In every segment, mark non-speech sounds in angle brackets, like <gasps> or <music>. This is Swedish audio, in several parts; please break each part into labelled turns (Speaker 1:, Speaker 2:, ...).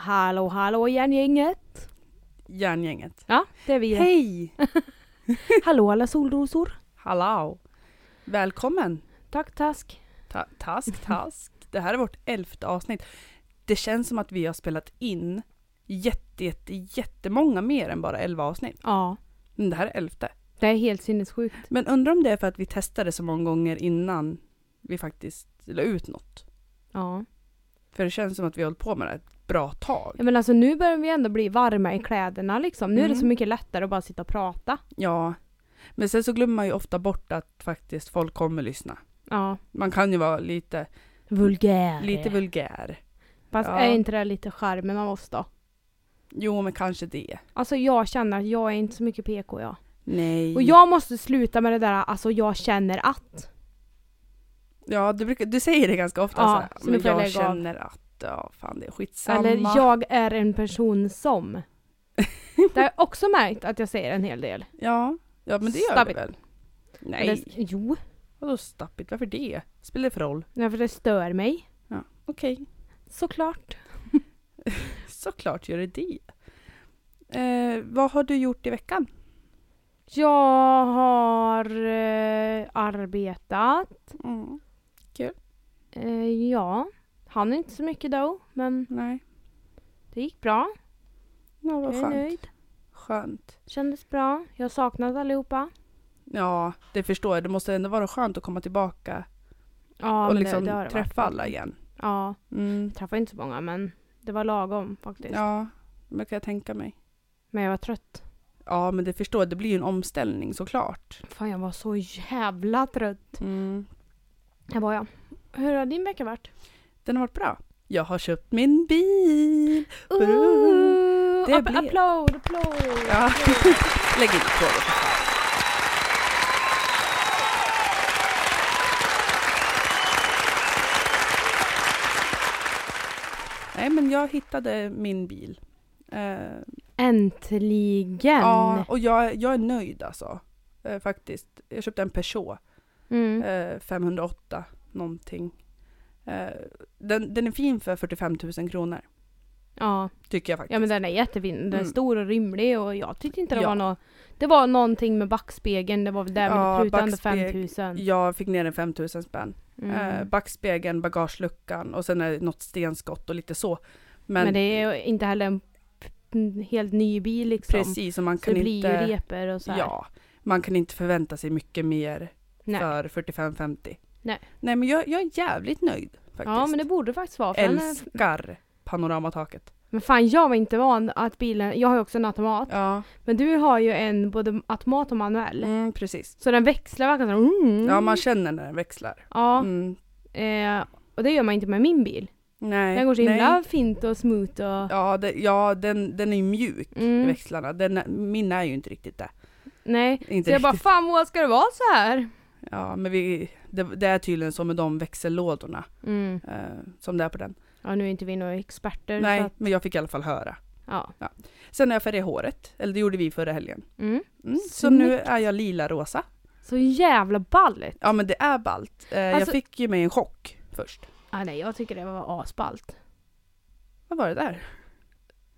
Speaker 1: Hallå hallå järngänget!
Speaker 2: Järngänget.
Speaker 1: Ja, det är vi. igen.
Speaker 2: Hej!
Speaker 1: Hallå alla solrosor!
Speaker 2: Hallå! Välkommen!
Speaker 1: Tack task!
Speaker 2: Ta <laughs> task, task. Det här är vårt elfte avsnitt. Det känns som att vi har spelat in jätte, jätte, jättemånga mer än bara elva avsnitt.
Speaker 1: Ja,
Speaker 2: Men det här är elfte.
Speaker 1: det är helt sinnessjukt.
Speaker 2: Men undrar om det är för att vi testade så många gånger innan vi faktiskt la ut något.
Speaker 1: Ja.
Speaker 2: För det känns som att vi har hållit på med det här ett bra tag.
Speaker 1: ja men alltså nu börjar vi ändå bli varma i kläderna liksom. Nu är det
Speaker 2: Mm.
Speaker 1: så mycket lättare att bara sitta och prata.
Speaker 2: Ja. Men sen så glömmer man ju ofta bort att faktiskt folk kommer lyssna.
Speaker 1: Ja.
Speaker 2: Man kan ju vara lite,
Speaker 1: Vulgär.
Speaker 2: lite vulgär.
Speaker 1: Fast
Speaker 2: ja.
Speaker 1: är inte det lite charmen av oss då?
Speaker 2: Jo, men kanske det.
Speaker 1: Alltså jag känner att jag är inte så mycket PK jag.
Speaker 2: Nej.
Speaker 1: Och jag måste sluta med det där alltså jag känner att.
Speaker 2: Ja, du, brukar, du säger det ganska ofta.
Speaker 1: Ja,
Speaker 2: så här,
Speaker 1: så nu
Speaker 2: men
Speaker 1: får jag
Speaker 2: jag
Speaker 1: lägga av."
Speaker 2: känner att, ja fan det är skitsamma.
Speaker 1: Eller jag är en person <laughs> som. det har jag också märkt att jag säger en hel del.
Speaker 2: Ja, ja men det gör
Speaker 1: Stop
Speaker 2: du
Speaker 1: it.
Speaker 2: väl? Nej,
Speaker 1: Eller, jo.
Speaker 2: vadå stappigt? Varför det? Spelar det för roll?
Speaker 1: Nej, för det stör mig.
Speaker 2: Okej,
Speaker 1: Såklart.
Speaker 2: såklart gör det det. Eh, vad har du gjort i veckan?
Speaker 1: Jag har eh, arbetat. Mm. Eh, ja, han är inte så mycket då, men
Speaker 2: Nej,
Speaker 1: det gick bra.
Speaker 2: ja, vad
Speaker 1: Jag är
Speaker 2: skönt.
Speaker 1: nöjd.
Speaker 2: Skönt.
Speaker 1: Kändes bra. Jag har saknat allihopa.
Speaker 2: Ja, det förstår jag. Det måste ändå vara skönt att komma tillbaka
Speaker 1: Ja,
Speaker 2: och
Speaker 1: men
Speaker 2: liksom
Speaker 1: har det
Speaker 2: träffa
Speaker 1: varit.
Speaker 2: alla igen.
Speaker 1: Ja,
Speaker 2: Mm.
Speaker 1: jag träffade inte så många, men det var lagom faktiskt.
Speaker 2: Ja, det kan jag tänka mig.
Speaker 1: Men jag var trött.
Speaker 2: Ja, men det förstår jag. Det blir ju en omställning såklart.
Speaker 1: Fan, jag var så jävla trött.
Speaker 2: Mm.
Speaker 1: Här var jag. Hur har din vecka varit?
Speaker 2: Den har varit bra. Jag har köpt min bil!
Speaker 1: Ooh,
Speaker 2: Det
Speaker 1: app-
Speaker 2: blev-
Speaker 1: Applåd, applåd!
Speaker 2: Ja.
Speaker 1: applåd.
Speaker 2: Lägg in applåder. Nej men jag hittade min bil. Eh,
Speaker 1: <laughs> Äntligen!
Speaker 2: ja, och jag, jag är nöjd alltså. Eh, faktiskt. Jag köpte en Peugeot
Speaker 1: Mm.
Speaker 2: eh, 508 någonting. Eh, den, den är fin för 45 000 kronor.
Speaker 1: Ja.
Speaker 2: Tycker jag faktiskt.
Speaker 1: ja, men den är jättefin. Den är
Speaker 2: Mm.
Speaker 1: stor och rymlig och jag tyckte inte det
Speaker 2: Ja.
Speaker 1: var något. Det var någonting med backspegeln, det var väl där
Speaker 2: Ja,
Speaker 1: med prutande
Speaker 2: backspeg-
Speaker 1: 5000.
Speaker 2: Jag fick ner den 5 000 spänn.
Speaker 1: Mm.
Speaker 2: Eh, backspegeln, bagageluckan och sen är det något stenskott och lite så. Men,
Speaker 1: men, det är ju inte heller en p- en helt ny bil liksom.
Speaker 2: precis, så man
Speaker 1: Så det
Speaker 2: kan
Speaker 1: blir
Speaker 2: inte...
Speaker 1: ju repor och så här.
Speaker 2: ja, man kan inte förvänta sig mycket mer
Speaker 1: Nej.
Speaker 2: för 45-50.
Speaker 1: Nej.
Speaker 2: Nej men jag, jag är jävligt nöjd faktiskt.
Speaker 1: ja, men det borde det faktiskt vara. För den är...
Speaker 2: Älskar panoramataket.
Speaker 1: Men fan, jag var inte van att bilen... Jag har ju också en automat.
Speaker 2: Ja,
Speaker 1: Men du har ju en både automat och manuell.
Speaker 2: mm, precis.
Speaker 1: Så den växlar verkligen så här, mm.
Speaker 2: Ja, man känner när den växlar.
Speaker 1: Ja,
Speaker 2: Mm.
Speaker 1: eh, och det gör man inte med min bil.
Speaker 2: Nej.
Speaker 1: Den går så
Speaker 2: nej.
Speaker 1: himla fint och smooth och...
Speaker 2: Ja, det, ja den, den är ju mjuk,
Speaker 1: Mm.
Speaker 2: växlarna. Den, är- min är ju inte riktigt det.
Speaker 1: Nej. Så
Speaker 2: Inte
Speaker 1: jag
Speaker 2: riktigt.
Speaker 1: bara, fan Moa ska det vara så här?
Speaker 2: Ja, men vi, det, det är tydligen så med de växellådorna
Speaker 1: Mm.
Speaker 2: eh, som det är på den.
Speaker 1: Ja nu är inte vi några experter
Speaker 2: Nej,
Speaker 1: så att,
Speaker 2: men jag fick i alla fall höra.
Speaker 1: ja.
Speaker 2: Sen har jag färgat håret, eller det gjorde vi förra helgen.
Speaker 1: Mm.
Speaker 2: Mm, så nu är jag lila-rosa.
Speaker 1: Så jävla balligt.
Speaker 2: Ja men det är ballt. Eh, jag
Speaker 1: Alltså-
Speaker 2: fick ju mig en chock först.
Speaker 1: Ah, nej jag tycker det var asballt.
Speaker 2: Vad var det där?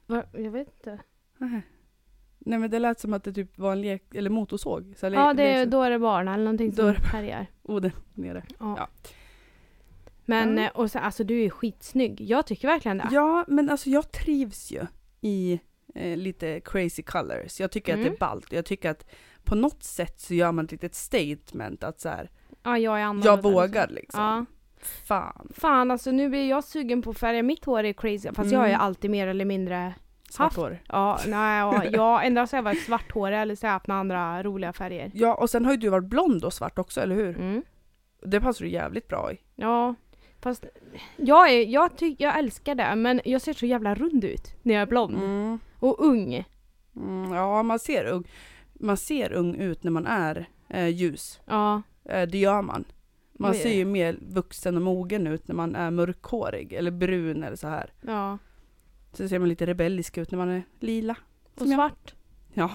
Speaker 1: Va? Jag vet inte.
Speaker 2: Nej men det lät som att det typ var en lek, eller motorsåg. Så
Speaker 1: Ja det är, liksom då är det barn eller någonting
Speaker 2: Då
Speaker 1: som
Speaker 2: är det
Speaker 1: härjar.
Speaker 2: Oh, den nere.
Speaker 1: Ja.
Speaker 2: Ja.
Speaker 1: Men
Speaker 2: Ja.
Speaker 1: eh, och så, alltså du är skitsnygg. Jag tycker verkligen det.
Speaker 2: Ja. men alltså jag trivs ju i eh, lite crazy colors. Jag tycker att det
Speaker 1: Mm.
Speaker 2: är ballt och jag tycker att på något sätt så gör man ett litet statement att så här,
Speaker 1: Ja, jag är annorlunda.
Speaker 2: jag vågar liksom.
Speaker 1: Ja.
Speaker 2: Fan.
Speaker 1: Fan alltså nu blir jag sugen på att färga mitt hår i crazy. Fast jag är
Speaker 2: Mm.
Speaker 1: alltid mer eller mindre
Speaker 2: Svart hår.
Speaker 1: Ja, nej, ja, jag ändå så jag varit svarthårig eller så har jag haft några andra roliga färger.
Speaker 2: Ja och sen har ju du varit blond och svart också, eller hur?
Speaker 1: Mm.
Speaker 2: Det passar du jävligt bra i.
Speaker 1: Ja, fast jag, är, jag, ty, jag älskar det men jag ser så jävla rund ut när jag är blond
Speaker 2: Mm.
Speaker 1: och ung.
Speaker 2: Mm, ja, man ser, ung, man ser ung ut när man är eh, ljus.
Speaker 1: Ja,
Speaker 2: Eh, det gör man. Man
Speaker 1: Oj.
Speaker 2: ser ju mer vuxen och mogen ut när man är mörkhårig eller brun eller så här.
Speaker 1: ja.
Speaker 2: Så ser man lite rebellisk ut när man är
Speaker 1: <gasps>
Speaker 2: lila.
Speaker 1: Och
Speaker 2: Som jag.
Speaker 1: svart.
Speaker 2: Ja.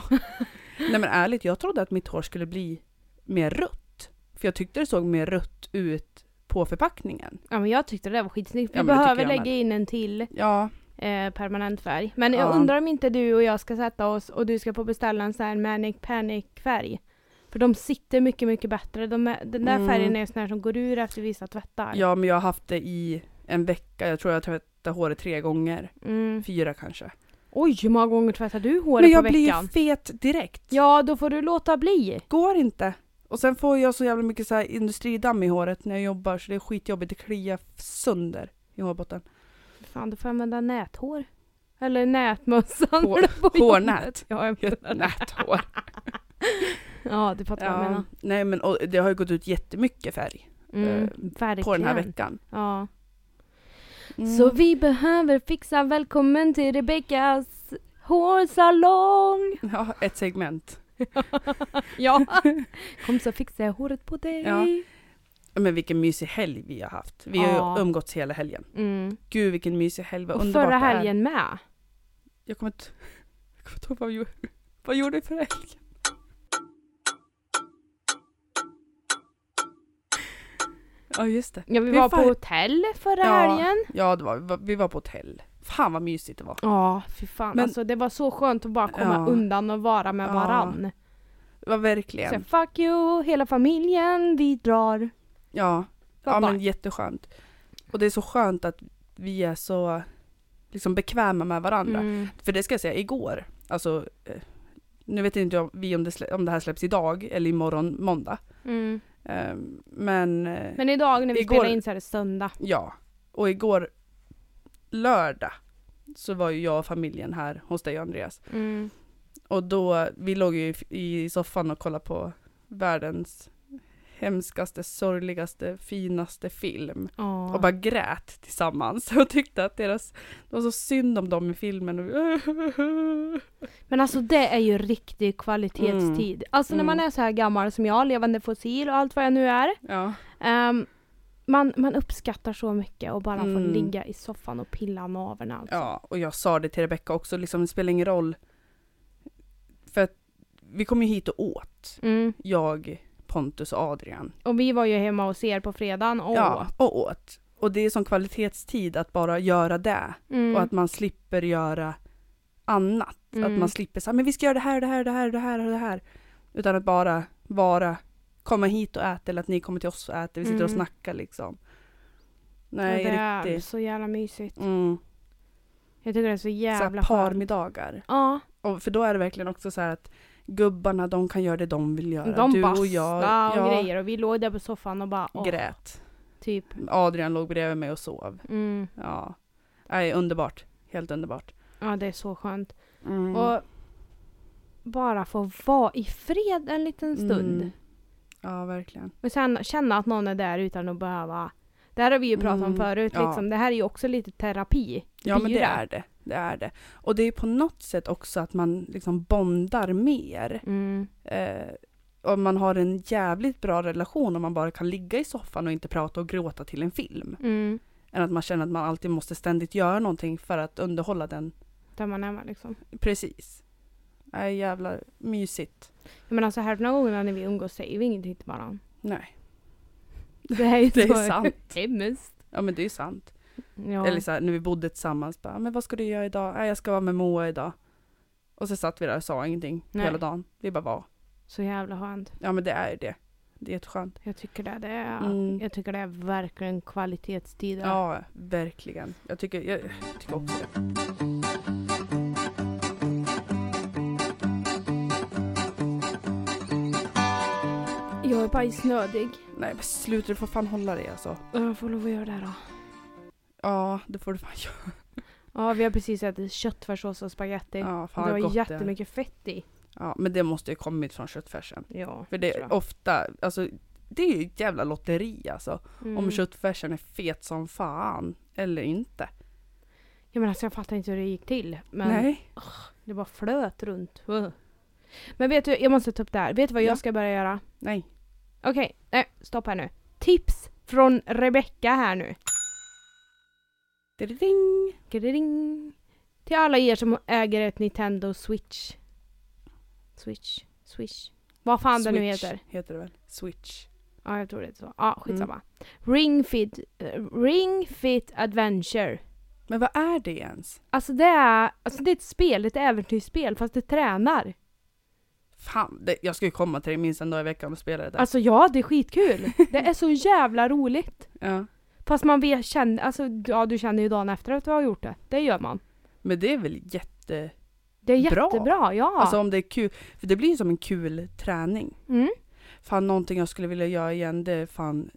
Speaker 2: Nej men ärligt, jag trodde att mitt hår skulle bli mer rött. För jag tyckte det såg mer rött ut på förpackningen.
Speaker 1: Ja men jag tyckte det där var skitsnyggt. Vi
Speaker 2: Ja, men det
Speaker 1: behöver
Speaker 2: tycker jag
Speaker 1: lägga in en till
Speaker 2: Ja,
Speaker 1: eh, permanent färg. Men
Speaker 2: Ja.
Speaker 1: jag undrar om inte du och jag ska sätta oss och du ska på beställa en sån här Manic Panic färg. För de sitter mycket, mycket bättre. De är, den där
Speaker 2: Mm.
Speaker 1: färgen är sån här som går ur efter vissa tvättar.
Speaker 2: Ja, men jag har haft det i en vecka. Jag tror jag har tvättat håret tre gånger.
Speaker 1: Mm.
Speaker 2: Fyra kanske.
Speaker 1: Oj, hur många gånger tvättar du håret
Speaker 2: Men jag
Speaker 1: på
Speaker 2: blir
Speaker 1: veckan?
Speaker 2: ju fet direkt.
Speaker 1: Ja, då får du låta bli.
Speaker 2: Går inte. Och sen får jag så jävla mycket så här industridamm i håret när jag jobbar så det är skitjobbigt. Det kliar sönder i hårbotten.
Speaker 1: <laughs> Fan, du får använda näthår. Eller nätmössan.
Speaker 2: Hår-
Speaker 1: när du <laughs> får
Speaker 2: hårnät.
Speaker 1: jobbet. Ja, jag <laughs> menar det.
Speaker 2: Näthår.
Speaker 1: ja, du fattar vad jag
Speaker 2: Ja.
Speaker 1: menar.
Speaker 2: Nej men och det har ju gått ut jättemycket färg
Speaker 1: Mm,
Speaker 2: eh,
Speaker 1: verkligen.
Speaker 2: på den här veckan.
Speaker 1: Ja.
Speaker 2: Mm.
Speaker 1: Så vi behöver fixa välkommen till Rebeckas hårsalong.
Speaker 2: <laughs> Ja, ett segment.
Speaker 1: <laughs> ja. <laughs> Kom så fixar jag håret på dig.
Speaker 2: Ja. Men vilken mysig helg vi har haft. Vi har
Speaker 1: Ja.
Speaker 2: ju umgåtts hela helgen.
Speaker 1: Mm.
Speaker 2: Gud vilken mysig helg, vad
Speaker 1: Och
Speaker 2: underbart
Speaker 1: förra
Speaker 2: det är.
Speaker 1: helgen med.
Speaker 2: Jag kommer inte <laughs> jag kommer inte ihåg vad vi gjorde. <laughs> Vad gjorde vi förra helgen? <laughs> Ja just det.
Speaker 1: Ja, vi
Speaker 2: Vi
Speaker 1: var
Speaker 2: får-
Speaker 1: på hotell förra
Speaker 2: Ja.
Speaker 1: helgen.
Speaker 2: Ja det var vi var på hotell. Fan vad mysigt det var.
Speaker 1: Ja, fy fan.
Speaker 2: Men-
Speaker 1: Alltså, det var så skönt att bara komma
Speaker 2: Ja.
Speaker 1: undan och vara med
Speaker 2: Ja.
Speaker 1: varann.
Speaker 2: Det var
Speaker 1: Så,
Speaker 2: verkligen.
Speaker 1: fuck you, hela familjen, vi drar.
Speaker 2: Ja.
Speaker 1: Jag
Speaker 2: Ja
Speaker 1: bara,
Speaker 2: men jätteskönt. Och det är så skönt att vi är så liksom bekväma med varandra.
Speaker 1: mm,
Speaker 2: För det ska jag säga, igår, alltså eh, nu vet inte jag vi om det, slä, om det här släpps idag eller imorgon måndag.
Speaker 1: mm.
Speaker 2: Eh, men, eh,
Speaker 1: Men idag när vi
Speaker 2: Igår-
Speaker 1: spelar in så är det söndag.
Speaker 2: ja, och igår lördag så var ju jag och familjen här hos dig och Andreas.
Speaker 1: Mm.
Speaker 2: Och då, vi låg ju i, i soffan och kollade på världens hemskaste, sorgligaste, finaste film.
Speaker 1: Ja.
Speaker 2: och bara grät tillsammans <laughs> och tyckte att deras, det var så synd om dem i filmen. Och,
Speaker 1: <laughs>
Speaker 2: äh.
Speaker 1: Men alltså det är ju riktig kvalitetstid. Alltså när man
Speaker 2: Mm.
Speaker 1: är så här gammal som jag, levande fossil och allt vad jag nu är.
Speaker 2: ja.
Speaker 1: ehm, man, man uppskattar så mycket och bara få
Speaker 2: Mm.
Speaker 1: ligga i soffan och pilla naveln alltså.
Speaker 2: ja, och jag sa det till Rebecca också, liksom, det spelar ingen roll. För att vi kom ju hit och åt,
Speaker 1: Mm.
Speaker 2: jag, Pontus och Adrian.
Speaker 1: Och vi var ju hemma hos er på fredagen och...
Speaker 2: Ja, och åt. Och det är som kvalitetstid att bara göra det
Speaker 1: Mm.
Speaker 2: och att man slipper göra annat. Att
Speaker 1: Mm.
Speaker 2: man slipper säga men vi ska göra det här, det här, det här, det här och det här. Utan att bara vara, komma hit och äta eller att ni kommer till oss och äter, vi sitter och
Speaker 1: Mm.
Speaker 2: snackar liksom.
Speaker 1: Och
Speaker 2: Nej,
Speaker 1: det är
Speaker 2: riktigt.
Speaker 1: så jävla mysigt.
Speaker 2: Mm.
Speaker 1: Jag tycker det är så
Speaker 2: Så här
Speaker 1: jävla skönt.
Speaker 2: parmiddagar.
Speaker 1: Ja,
Speaker 2: Och för då är det verkligen också så här att gubbarna de kan göra det de vill göra.
Speaker 1: de
Speaker 2: du
Speaker 1: bastade
Speaker 2: och
Speaker 1: och,
Speaker 2: jag
Speaker 1: grejer och vi låg där på soffan och bara åh,
Speaker 2: grät.
Speaker 1: typ.
Speaker 2: Adrian låg bredvid mig och sov.
Speaker 1: Mm.
Speaker 2: Ja. Nej, underbart. Helt underbart.
Speaker 1: Ja, det är så skönt.
Speaker 2: Mm.
Speaker 1: Och bara få vara i fred en liten stund.
Speaker 2: Mm. Ja, verkligen.
Speaker 1: Och sen känna att någon är där utan att behöva... Det här har vi ju pratat om
Speaker 2: Mm,
Speaker 1: förut,
Speaker 2: ja.
Speaker 1: liksom. det här är ju också lite terapi.
Speaker 2: Ja men
Speaker 1: blir
Speaker 2: det
Speaker 1: det.
Speaker 2: är det. Det är det. Och det är på något sätt också att man liksom bondar mer.
Speaker 1: Mm.
Speaker 2: Eh, och man har en jävligt bra relation om man bara kan ligga i soffan och inte prata och gråta till en film.
Speaker 1: Mm.
Speaker 2: Än att man känner att man alltid måste ständigt göra någonting för att underhålla den.
Speaker 1: Där man är med liksom.
Speaker 2: Precis. Nej jävla mysigt.
Speaker 1: Jag menar så hälften av gångerna när vi umgås säger vi ingenting till
Speaker 2: <laughs>
Speaker 1: varandra.
Speaker 2: Nej.
Speaker 1: Det är ju
Speaker 2: Det
Speaker 1: <laughs>
Speaker 2: är
Speaker 1: så
Speaker 2: sant.
Speaker 1: hemskt.
Speaker 2: Ja men det är ju sant.
Speaker 1: Ja.
Speaker 2: Eller så här, när vi bodde tillsammans bara, men vad ska du göra idag? Nej jag ska vara med Moa idag. Och så satt vi där och sa ingenting
Speaker 1: Nej.
Speaker 2: hela dagen. Vi bara var.
Speaker 1: Så jävla skönt.
Speaker 2: Ja men det är ju det. Det är jätteskönt.
Speaker 1: Jag tycker det, det är,
Speaker 2: Mm.
Speaker 1: jag tycker det är verkligen kvalitetstid.
Speaker 2: Ja, verkligen. Jag tycker, jag, jag tycker också det.
Speaker 1: Jag är bajsnödig.
Speaker 2: Nej men sluta, du får fan hålla dig alltså.
Speaker 1: Jag får lov att göra det här då.
Speaker 2: Ja, det får du fan göra.
Speaker 1: Ja, vi har precis ätit köttfärssås och spagetti.
Speaker 2: Ja,
Speaker 1: det
Speaker 2: fan vad
Speaker 1: var
Speaker 2: gott det är.
Speaker 1: jättemycket fett i.
Speaker 2: Ja, men det måste ju kommit från köttfärsen.
Speaker 1: Ja,
Speaker 2: För det
Speaker 1: tror jag.
Speaker 2: är ofta, alltså det är ju ett jävla lotteri alltså.
Speaker 1: Mm.
Speaker 2: Om köttfärsen är fet som fan eller inte.
Speaker 1: Ja, men alltså, jag fattar inte hur det gick till. Men
Speaker 2: Nej.
Speaker 1: det bara flöt runt. Ugh. Men vet du, jag måste ta upp det här. Vet du vad
Speaker 2: Ja.
Speaker 1: jag ska börja göra?
Speaker 2: Nej.
Speaker 1: Okej, nej, stopp här nu. Tips från Rebecka här nu.
Speaker 2: Ding.
Speaker 1: Gring. Till alla er som äger ett Nintendo Switch. Switch, Switch. Vad fan det nu heter.
Speaker 2: Heter det väl? Switch.
Speaker 1: Ja,
Speaker 2: Mm.
Speaker 1: jag tror det är så. Ja, skitsamma. Ring Fit, eh, Ring Fit Adventure.
Speaker 2: Men vad är det ens?
Speaker 1: Alltså det är, alltså det är ett spel, ett äventyrsspel fast det tränar.
Speaker 2: Fan, det, jag ska ju komma till dig minst en dag i veckan och spela det där.
Speaker 1: Alltså ja, det är skitkul. det är så jävla roligt.
Speaker 2: ja.
Speaker 1: Fast man vet, känner, alltså ja du känner ju dagen efter att du har gjort det. Det gör man.
Speaker 2: Men det är väl jätte...
Speaker 1: Det är
Speaker 2: Bra.
Speaker 1: jättebra, ja.
Speaker 2: Alltså om det är kul. För det blir ju som en kul träning.
Speaker 1: mm.
Speaker 2: Fan, någonting jag skulle vilja göra igen det är fan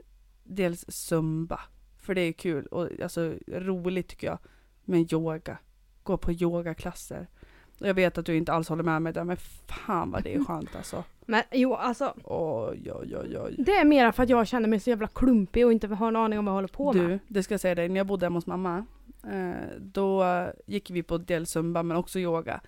Speaker 2: dels zumba. För det är kul och alltså roligt tycker jag. Men yoga. Gå på yogaklasser. Och jag vet att du inte alls håller med mig där men fan vad det är
Speaker 1: <laughs>
Speaker 2: skönt alltså.
Speaker 1: Men jo, alltså
Speaker 2: Oj, oj, oj, oj.
Speaker 1: det är mer för att jag känner mig så jävla klumpig och inte har en aning om vad jag håller på med.
Speaker 2: Du, det ska jag säga dig. När jag bodde hemma hos mamma, eh, då gick vi på del zumba men också yoga.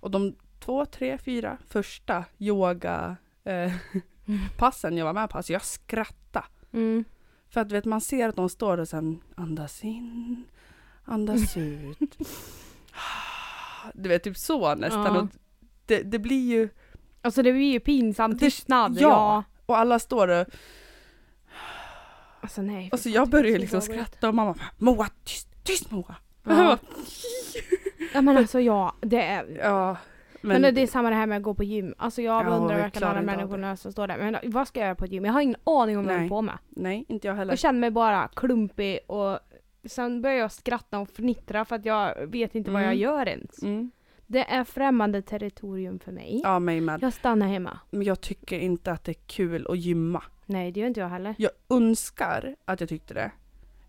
Speaker 2: Och de två, tre, fyra första yoga eh, <laughs> passen jag var med på, alltså jag skrattade.
Speaker 1: Mm.
Speaker 2: För att du vet, man ser att de står och sen andas in,
Speaker 1: <laughs>
Speaker 2: andas ut. Du vet, typ så nästan.
Speaker 1: Ja.
Speaker 2: Och det, det blir ju...
Speaker 1: Alltså det blir ju pinsam
Speaker 2: Det-
Speaker 1: tystnad.
Speaker 2: ja. Och alla står och...
Speaker 1: Alltså nej. fy
Speaker 2: Alltså
Speaker 1: fan,
Speaker 2: jag
Speaker 1: tycker det är
Speaker 2: börjar ju
Speaker 1: så
Speaker 2: liksom
Speaker 1: jobbigt.
Speaker 2: skratta och mamma bara, Moa, tyst, tyst Moa!
Speaker 1: Ja. ja men alltså ja, det är...
Speaker 2: Ja,
Speaker 1: Men, det är samma det här med att gå på gym. Alltså jag
Speaker 2: Ja,
Speaker 1: undrar
Speaker 2: vi
Speaker 1: verkligen
Speaker 2: klarar
Speaker 1: alla
Speaker 2: inte av
Speaker 1: människorna som står där. Men vad ska jag göra på ett gym? Jag har ingen aning om vad jag håller
Speaker 2: Nej.
Speaker 1: på med.
Speaker 2: Nej, inte jag heller.
Speaker 1: Jag känner mig bara klumpig och sen börjar jag skratta och fnittra för att jag vet inte vad
Speaker 2: Mm.
Speaker 1: jag gör ens.
Speaker 2: Mm.
Speaker 1: Det är främmande territorium för mig.
Speaker 2: Ja, mig med.
Speaker 1: Jag stannar hemma.
Speaker 2: Men jag tycker inte att det är kul att gymma.
Speaker 1: Nej, det gör inte jag heller.
Speaker 2: Jag önskar att jag tyckte det.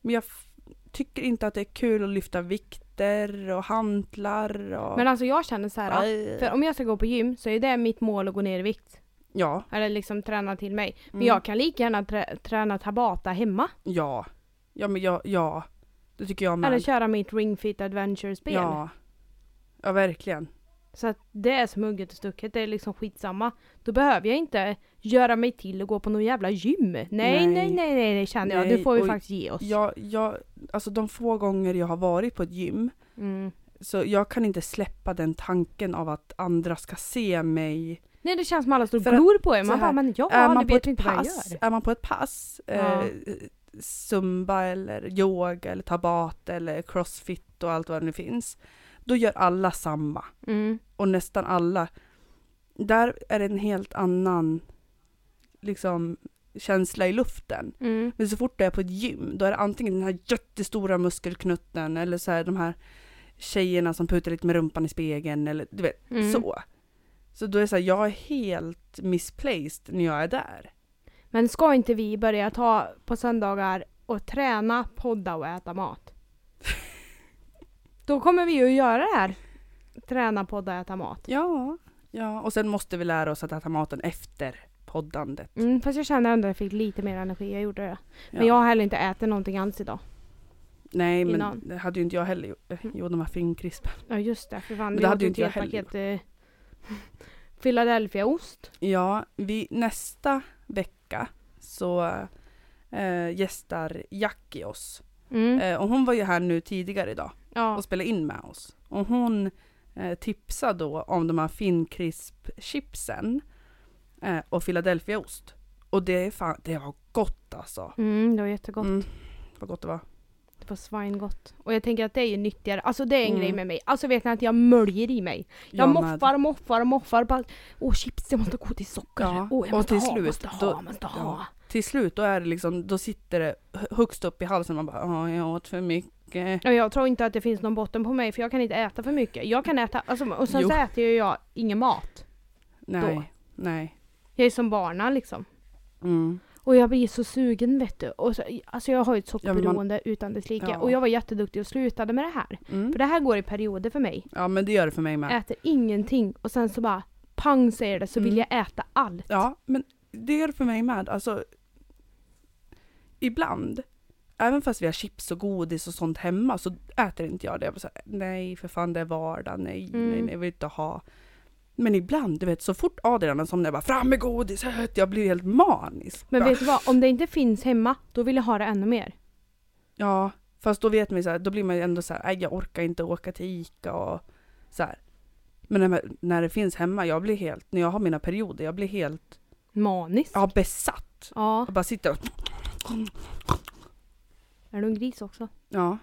Speaker 2: Men jag f- tycker inte att det är kul att lyfta vikter och hantlar och...
Speaker 1: Men alltså jag känner så här.
Speaker 2: Aj.
Speaker 1: För om jag ska gå på gym så är det mitt mål att gå ner i vikt.
Speaker 2: Ja.
Speaker 1: Eller liksom träna till mig. Men
Speaker 2: Mm.
Speaker 1: jag kan lika gärna trä- träna Tabata hemma.
Speaker 2: Ja. Ja, men jag, ja. Det tycker jag med.
Speaker 1: Eller köra mitt Ring Fit Adventure-spel.
Speaker 2: Ja. Ja, verkligen.
Speaker 1: Så att det är som hugget och stucket, det är liksom skitsamma. Då behöver jag inte göra mig till och gå på någon jävla gym. Nej, nej,
Speaker 2: Nej.
Speaker 1: nej, nej, nej, känner jag.
Speaker 2: Nej,
Speaker 1: Det får vi
Speaker 2: och
Speaker 1: faktiskt ge oss.
Speaker 2: Jag, jag, alltså de få gånger jag har varit på ett gym
Speaker 1: Mm.
Speaker 2: så jag kan inte släppa den tanken av att andra ska se mig
Speaker 1: Nej, det känns som alla står och
Speaker 2: För att-
Speaker 1: glor på er. Man
Speaker 2: så här,
Speaker 1: bara, men ja,
Speaker 2: är
Speaker 1: ni
Speaker 2: man, på
Speaker 1: vet
Speaker 2: ett
Speaker 1: inte vad jag
Speaker 2: pass,
Speaker 1: gör.
Speaker 2: är man på ett pass,
Speaker 1: Ja.
Speaker 2: eh, zumba eller yoga eller tabata eller crossfit och allt vad det nu finns, då gör alla samma.
Speaker 1: Mm.
Speaker 2: Och nästan alla. Där är det en helt annan liksom, känsla i luften.
Speaker 1: Mm.
Speaker 2: Men så fort du är på ett gym, då är det antingen den här jättestora muskelknutten eller så här de här tjejerna som putar lite med rumpan i spegeln eller du vet,
Speaker 1: Mm.
Speaker 2: så. Så då är det så här, jag är helt misplaced när jag är där.
Speaker 1: Men ska inte vi börja ta på söndagar och träna, podda och äta mat? Då kommer vi ju att göra det här. Träna, podda, äta mat.
Speaker 2: Ja, ja. Och sen måste vi lära oss att äta maten efter poddandet.
Speaker 1: Mm, fast jag känner ändå att jag fick lite mer energi, jag gjorde det. Men
Speaker 2: Ja.
Speaker 1: jag har heller inte ätit någonting alls idag.
Speaker 2: Nej, men
Speaker 1: innan. Mm.
Speaker 2: det hade ju inte jag heller gjort. Eh, Jo, de här finkrispen.
Speaker 1: Ja just det, för fan.
Speaker 2: Men
Speaker 1: vi
Speaker 2: det
Speaker 1: åt
Speaker 2: hade ju
Speaker 1: ett
Speaker 2: inte jag
Speaker 1: helt
Speaker 2: heller
Speaker 1: paket, eh, <laughs> Philadelphiaost.
Speaker 2: Ja, vi, nästa vecka så eh, gästar Jackie oss.
Speaker 1: Mm.
Speaker 2: Eh, och hon var ju här nu tidigare idag
Speaker 1: ja.
Speaker 2: och spelade in med oss. Och hon eh, tipsade då om de här finkrisp-chipsen eh, och Philadelphiaost. Och det, är fan, det var gott alltså.
Speaker 1: Mm, det var jättegott.
Speaker 2: Mm, vad gott det var.
Speaker 1: Det var svingott. Och jag tänker att det är ju nyttigare. Alltså det är en
Speaker 2: Mm.
Speaker 1: grej med mig. Alltså vet ni att jag möljer i mig. Jag,
Speaker 2: med.
Speaker 1: moffar, moffar, moffar. Bara, Åh chips, jag måste gå till socker.
Speaker 2: Ja,
Speaker 1: Åh jag
Speaker 2: och
Speaker 1: måste
Speaker 2: till
Speaker 1: ha,
Speaker 2: slut,
Speaker 1: måste ha,
Speaker 2: då-
Speaker 1: måste
Speaker 2: ja.
Speaker 1: ha.
Speaker 2: till slut då är det liksom, då sitter det hö- högst upp i halsen man bara ja jag åt för mycket.
Speaker 1: Ja, jag tror inte att det finns någon botten på mig för jag kan inte äta för mycket. Jag kan äta, alltså, och sen
Speaker 2: Jo.
Speaker 1: så äter ju jag ingen mat.
Speaker 2: Nej,
Speaker 1: Då.
Speaker 2: nej.
Speaker 1: Jag är som barnen liksom.
Speaker 2: Mm.
Speaker 1: Och jag blir så sugen vet du. Och så, alltså jag har ju ett
Speaker 2: men man-
Speaker 1: sockerberoende utan dess like.
Speaker 2: Ja.
Speaker 1: Och jag var jätteduktig och slutade med det här.
Speaker 2: Mm.
Speaker 1: För det här går i perioder för mig.
Speaker 2: Ja men det gör det för mig med.
Speaker 1: Äter ingenting och sen så bara pang säger det så vill
Speaker 2: Mm.
Speaker 1: jag äta allt.
Speaker 2: Ja men det gör det för mig med. Alltså ibland, även fast vi har chips och godis och sånt hemma så äter inte jag det. Jag bara så här, nej för fan det är vardag, nej,
Speaker 1: Mm.
Speaker 2: nej, nej, jag vill inte ha. Men ibland, du vet så fort Adrian har somnat jag bara fram med godiset, jag blir helt manisk.
Speaker 1: Men
Speaker 2: Bara,
Speaker 1: vet du vad, om det inte finns hemma då vill jag ha det ännu mer.
Speaker 2: Ja, fast då vet man ju så här, då blir man ju ändå så här, "Nej, jag orkar inte åka till ICA och så här. Men när, när det finns hemma, jag blir helt, när jag har mina perioder, jag blir helt,
Speaker 1: Maniskt.
Speaker 2: ja besatt.
Speaker 1: Ja.
Speaker 2: Jag bara sitter och
Speaker 1: Är du en gris också?
Speaker 2: Ja.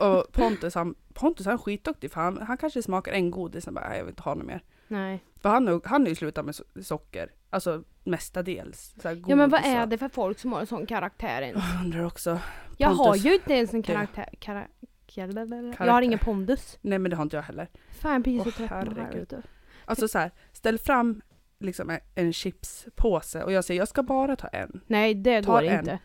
Speaker 2: Och Pontus han, Pontus han är skitduktig för han, han kanske smakar en godis och bara "Nej, jag vill inte ha något mer.
Speaker 1: Nej.
Speaker 2: För han har ju- han har ju slutat med so- socker. Alltså mestadels. Så här
Speaker 1: Ja men vad
Speaker 2: godis
Speaker 1: är
Speaker 2: och-
Speaker 1: det för folk som har en sån karaktär ens?
Speaker 2: Jag undrar också.
Speaker 1: Jag har
Speaker 2: Pontus.
Speaker 1: ju inte ens en
Speaker 2: Det-
Speaker 1: karaktär... Kara, kara, jag har ingen pondus.
Speaker 2: Nej men det har inte jag heller.
Speaker 1: Fan jag blir så
Speaker 2: Åh,
Speaker 1: trött på det här
Speaker 2: herregud.
Speaker 1: vet du.
Speaker 2: Alltså så här, ställ fram liksom en- en chipspåse och jag säger jag ska bara ta en.
Speaker 1: Nej det
Speaker 2: Ta
Speaker 1: går
Speaker 2: en.
Speaker 1: inte.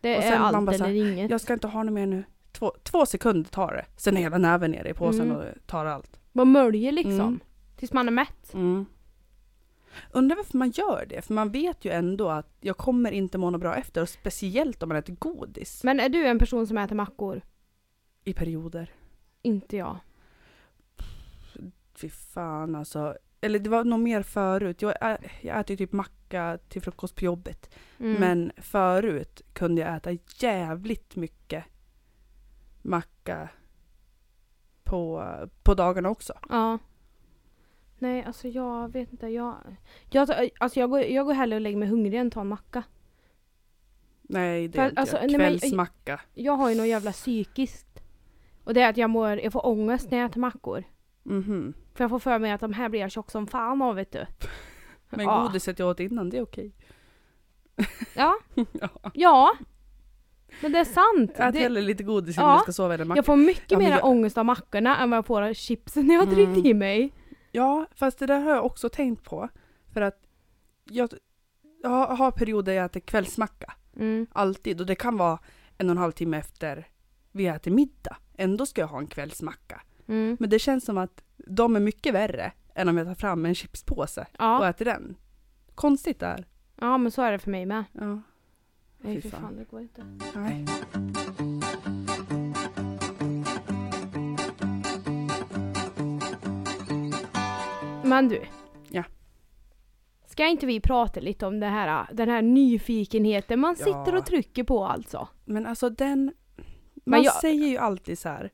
Speaker 1: Det
Speaker 2: Och
Speaker 1: är
Speaker 2: sen man
Speaker 1: allt
Speaker 2: bara så här,
Speaker 1: eller inget.
Speaker 2: Jag ska inte ha något mer nu. Två, två sekunder tar det. Sen är hela näven nere i påsen
Speaker 1: Mm.
Speaker 2: och tar allt.
Speaker 1: Man möljer liksom.
Speaker 2: Mm.
Speaker 1: Tills man är mätt.
Speaker 2: Undrar varför man gör det? För man vet ju ändå att jag kommer inte må något bra efter. Och speciellt om man äter godis.
Speaker 1: Men är du en person som äter mackor?
Speaker 2: I perioder.
Speaker 1: Inte jag.
Speaker 2: Fy fan alltså. Eller det var nog mer förut. Jag, ä- jag äter ju typ macka till frukost på jobbet.
Speaker 1: Mm.
Speaker 2: Men förut kunde jag äta jävligt mycket macka på, på dagarna också.
Speaker 1: Ja. Nej, alltså jag vet inte. Jag, jag, tar- alltså jag, går, jag går hellre och lägger mig hungrig än tar en macka.
Speaker 2: Nej, det
Speaker 1: För-
Speaker 2: är inte
Speaker 1: alltså,
Speaker 2: jag.
Speaker 1: nej, men-
Speaker 2: Kvällsmacka.
Speaker 1: Jag har ju något jävla psykiskt. Och det är att jag, mår, jag får ångest när jag äter mackor.
Speaker 2: Mhm.
Speaker 1: För jag får för mig att de här blir jag tjock som fan av vet du.
Speaker 2: <laughs> Men
Speaker 1: ja.
Speaker 2: godiset jag åt innan, det är okej. <laughs>
Speaker 1: Ja.
Speaker 2: Ja.
Speaker 1: ja. Men det är sant.
Speaker 2: Ät
Speaker 1: Det,
Speaker 2: hellre lite godis
Speaker 1: Ja.
Speaker 2: innan du ska sova eller macka.
Speaker 1: jag får mycket
Speaker 2: Ja, men
Speaker 1: mer
Speaker 2: jag-
Speaker 1: ångest av mackorna än vad jag får av chipsen jag har tryckt
Speaker 2: Mm.
Speaker 1: i mig.
Speaker 2: Ja, fast det där har jag också tänkt på. För att jag, jag har har perioder jag äter kvällsmacka.
Speaker 1: Mm.
Speaker 2: Alltid. Och det kan vara en och en halv timme efter vi äter middag. Ändå ska jag ha en kvällsmacka.
Speaker 1: Mm.
Speaker 2: Men det känns som att de är mycket värre än om jag tar fram en chipspåse och
Speaker 1: Ja.
Speaker 2: äter den. Konstigt det här.
Speaker 1: ja, men så är det för mig med.
Speaker 2: Ja.
Speaker 1: Nej,
Speaker 2: Fy
Speaker 1: för
Speaker 2: fan.
Speaker 1: fan, det går inte.
Speaker 2: Nej.
Speaker 1: Men du.
Speaker 2: Ja.
Speaker 1: Ska inte vi prata lite om det här, den här nyfikenheten man
Speaker 2: Ja.
Speaker 1: sitter och trycker på alltså?
Speaker 2: Men alltså den... Man
Speaker 1: Men jag-
Speaker 2: säger ju alltid så här.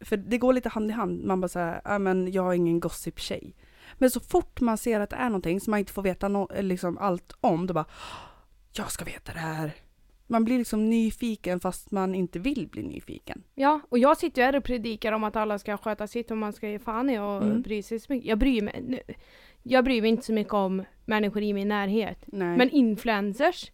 Speaker 2: För det går lite hand i hand. Man bara så här, ja men jag är ingen gossip-tjej. Men så fort man ser att det är någonting som man inte får veta no- liksom allt om, då bara Jag ska veta det här. Man blir liksom nyfiken fast man inte vill bli nyfiken.
Speaker 1: Ja, och jag sitter ju här och predikar om att alla ska sköta sitt och man ska ge fan i och
Speaker 2: Mm.
Speaker 1: bry sig så mycket. Jag bryr mig, nu, jag bryr mig inte så mycket om människor i min närhet.
Speaker 2: Nej.
Speaker 1: Men influencers,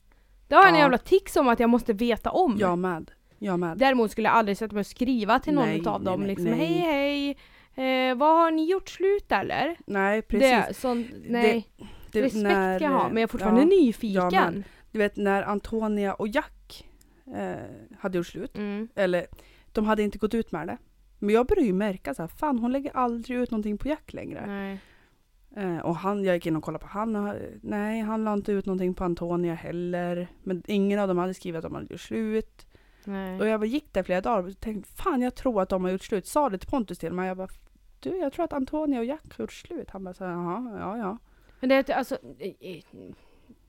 Speaker 1: det har jag en
Speaker 2: Ja.
Speaker 1: jävla tics om att jag måste veta om.
Speaker 2: Jag med. Jag med.
Speaker 1: Däremot skulle jag aldrig sätta mig och skriva till någon
Speaker 2: Nej,
Speaker 1: av dem
Speaker 2: nej, nej,
Speaker 1: liksom
Speaker 2: nej.
Speaker 1: hej hej, eh, vad har ni gjort slut eller?
Speaker 2: Nej, precis.
Speaker 1: Det, sånt, nej,
Speaker 2: Det-
Speaker 1: respekt
Speaker 2: när-
Speaker 1: ska jag ha men jag är fortfarande
Speaker 2: ja.
Speaker 1: nyfiken.
Speaker 2: Jag med. Du vet när Antonia och Jack eh, hade gjort slut.
Speaker 1: Mm.
Speaker 2: Eller de hade inte gått ut med det. Men jag började ju märka så här, fan hon lägger aldrig ut någonting på Jack längre.
Speaker 1: Nej. Mm.
Speaker 2: Eh, och han, jag gick in och kollade på han, och, nej han la inte ut någonting på Antonia heller. Men ingen av dem hade skrivit att de hade gjort slut.
Speaker 1: Nej.
Speaker 2: Och jag bara gick där flera dagar och tänkte, fan jag tror att de har gjort slut. Sa det till Pontus till mig, jag bara, du jag tror att Antonia och Jack har gjort slut. Han bara så här, jaha, ja ja.
Speaker 1: Men det är att, alltså, eh, eh,